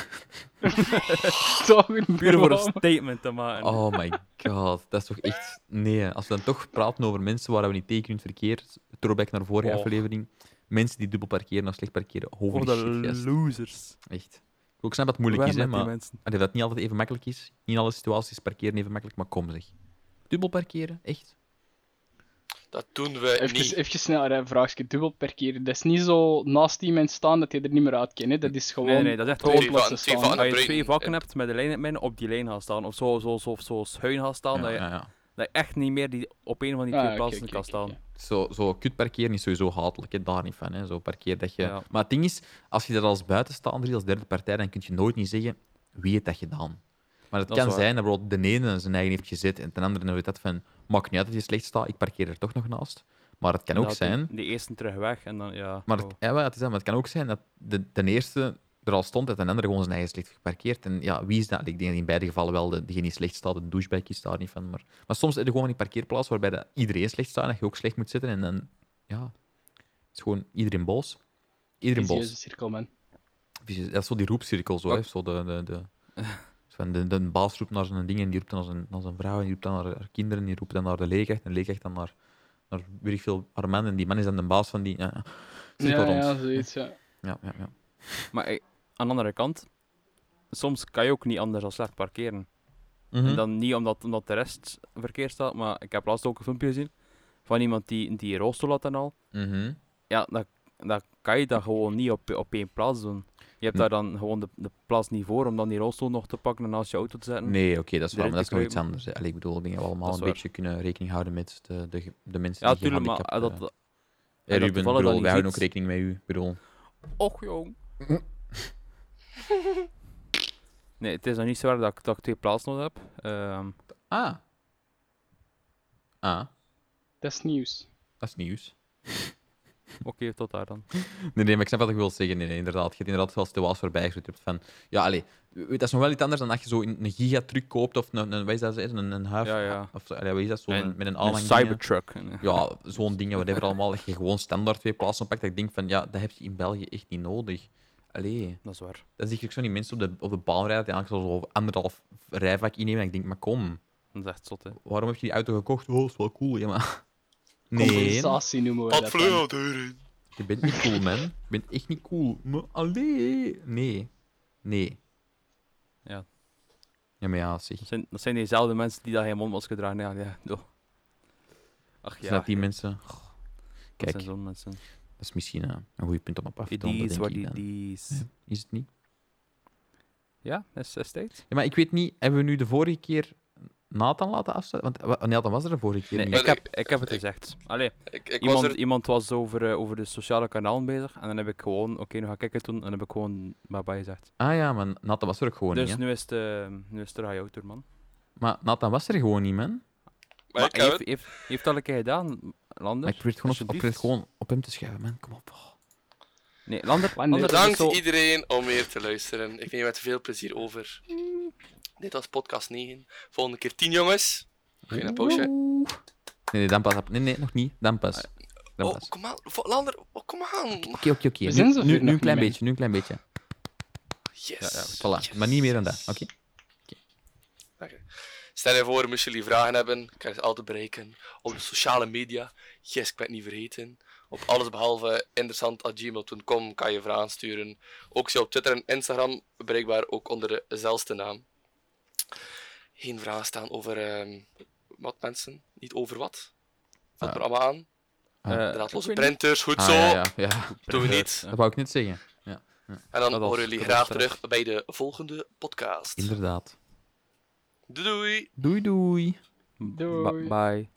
Toch een Puur voor een droom. statement te maken. Oh my god, dat is toch echt. Nee, als we dan toch praten over mensen waar we niet tegen kunnen verkeer, throwback naar vorige Oh. aflevering. Mensen die dubbel parkeren of slecht parkeren, holy voor shit, de gast. losers. Echt. Ik wil ook snap dat het moeilijk Weg is, hè, met die maar mensen. Allee, dat het niet altijd even makkelijk is. Niet in alle situaties is parkeren even makkelijk, maar kom zeg. Dubbel parkeren, echt? Dat doen we niet. Even, even snel een vraagje. Dubbel parkeren. Dat is niet zo naast iemand staan dat je er niet meer uit kent. hè. Dat is gewoon Nee, nee, dat is echt gewoon Twee plaatsen van- twee staan. van- Als je breng- twee vakken eh, hebt met de lijn in het midden, op die lijn gaan staan. Of zo, zo, zo, zo schuin gaan staan. Ja, dat, je, ja, ja. dat je echt niet meer die, op een van die Ah, twee oké, plaatsen oké, kan oké, staan. oké. Zo, zo kut parkeren is sowieso hatelijk, hè. daar niet van. Hè. Zo parkeer dat je... Ja. Maar het ding is, als je daar als buitenstaander, als derde partij, dan kun je nooit niet zeggen wie heeft dat gedaan. Maar het Dat is kan waar. zijn dat bijvoorbeeld de ene zijn eigen heeft gezet en ten andere dan weet dat van, maakt niet uit dat je slecht staat, ik parkeer er toch nog naast. Maar het kan ook Inderdaad, zijn... die- Die eerste terug weg en dan, ja. Maar zo. het, ja, wel, het, is dat, maar het kan ook zijn dat de, de eerste er al stond en de andere gewoon zijn eigen slecht geparkeerd. En ja, wie is dat? Ik denk dat in beide gevallen wel de, degene die slecht staat, de douchebag is daar niet van. Maar, maar soms heb je gewoon die parkeerplaats waarbij dat iedereen slecht staat en dat je ook slecht moet zitten. En dan, ja, is gewoon iedereen boos. Iedereen Visieuze boos. cirkel, man. Precies, Dat is zo die roepcirkel, zo, hè. Zo de, de, de, zo van de, de baas roept naar zijn ding en die roept dan naar zijn, naar zijn vrouw en die roept dan naar haar kinderen en die roept dan naar de leerkracht en de leerkracht dan naar, naar weet ik veel, haar man en die man is dan de baas van die... Ja, ja. cirkel Ja, rond. ja, zoiets, ja. ja, ja, ja. Maar eh, aan de andere kant, soms kan je ook niet anders dan slecht parkeren. Mhm. En dan niet omdat, omdat de rest verkeerd staat, maar ik heb laatst ook een filmpje gezien van iemand die, die een rolstoel had en al. Mhm. Ja, dat, dat kan je dan gewoon niet op, op één plaats doen. Je hebt daar dan gewoon de, de plaats niet voor om dan die rolstoel nog te pakken en naast je auto te zetten. Nee, oké, dat is waar, maar dat is nog Direct iets anders. hè. Allee, ik bedoel, ik denk dat we allemaal Dat is een waar. beetje kunnen rekening houden met de, de, de mensen ja, die tuurlijk, maar eh, gehandicapt, dat... eh, en eh, dat Ruben, toevallig bedoel, wij dat niet houden ook ziet. rekening met u. ik Bedoel. Och, jong. nee, het is nog niet zo waar dat ik, dat ik twee plaatsen nodig heb. Ehm, Ah. Ah, Dat is nieuws. dat is nieuws. Oké, tot daar dan. Nee, nee, maar ik snap wat ik wil zeggen. Nee, nee, inderdaad. Je hebt inderdaad wel situaties waarbij je zoiets hebt van... Ja, allee, weet- dat is nog wel iets anders dan dat je zo een een gigatruc koopt of een, een, wat is dat, een, een, een huif... Ja, ja. Of, zo, allee, wat is dat, zo, En met een Een aanhang cybertruck. ja, zo'n dingen, whatever allemaal, dat je gewoon standaard twee plaatsen pakt. Dat ik denk van, ja, dat heb je in België echt niet nodig. Allee, Dat is waar. dan zie ik ook zo die mensen op de, op de baan rijden, die eigenlijk zo zo anderhalf rijvak innemen. En ik denk, maar kom, Dat is echt zot, hè. waarom heb je die auto gekocht? Oh, is wel cool, ja, maar... Nee, Compensatie noemen we Wat dat dan. vleugel erin. je bent niet cool, man. Je bent echt niet cool. Maar, allee, nee. Nee. Ja. Ja, maar ja, zeg. Dat zijn, dat zijn diezelfde mensen die dat geen mondmasker dragen. Ja, ja, doe. Ach ja, Zijn dat die mensen... Goh, dat Kijk, zijn dat zo'n mensen. is misschien eh, een goed punt om op af te It doen, dat is denk what ik it dan. is. Is het niet? Ja, dat is, dat is tijd. Ja, maar ik weet niet, hebben we nu de vorige keer Nathan laten afsluiten? Want wa- Nathan was er de vorige keer Nee, niet. ik Maar heb, ik heb het gezegd. Allee, Ik, ik was iemand, er... iemand was over, eh, over de sociale kanalen bezig. En dan heb ik gewoon, oké, nu ga ik kijken doen. En dan heb ik gewoon bye-bye gezegd. Ah ja, maar Nathan was er ook gewoon dus niet. hè. nu is, het, eh, nu is het er aan jou, toer, man. Maar Nathan was er gewoon niet, man. Maar ik heb heeft, het. heeft, heeft al een keer gedaan, Lander. Maar ik probeer het gewoon, op, ik probeer het alsjeblieft. gewoon op hem te schuiven, man. Kom op. Oh. Nee, Lander. Lander. Lander, Bedankt het is zo- iedereen om weer te luisteren. Ik neem het veel plezier over. Dit was podcast 9. Volgende keer 10, jongens. Geen een pausje. Nee, nee, dan pas. Nee, nee, nog niet. Dan pas. Dan Oh, pas. kom aan. Vo- Lander, oh, kom aan. Oké, oké, oké. We Nu- zijn zo Nu, ver nu een nog klein niet, man. beetje, nu een klein beetje. Yes. ja, Voilà, maar niet meer dan dat, oké? Stel je voor, moest jullie vragen hebben, kan je ze altijd bereiken op de sociale media. Yes, ik ben het niet vergeten. Op alles behalve interessant.gmail.com kan je vragen sturen. Ook zo op Twitter en Instagram, bereikbaar ook onder dezelfde naam. Geen vragen staan over ehm, wat mensen, niet over wat. Valt me Ah. allemaal aan. eh, Draadloze ik weet niet. printers, goed Ah, zo. ja, ja, ja. Doen we niet. Dat wou ik net zeggen. Ja, En dan Dat was- horen jullie dat graag was terug bij de volgende podcast. inderdaad. Doei doei! Doei, doei. Doei. Ba- Bye.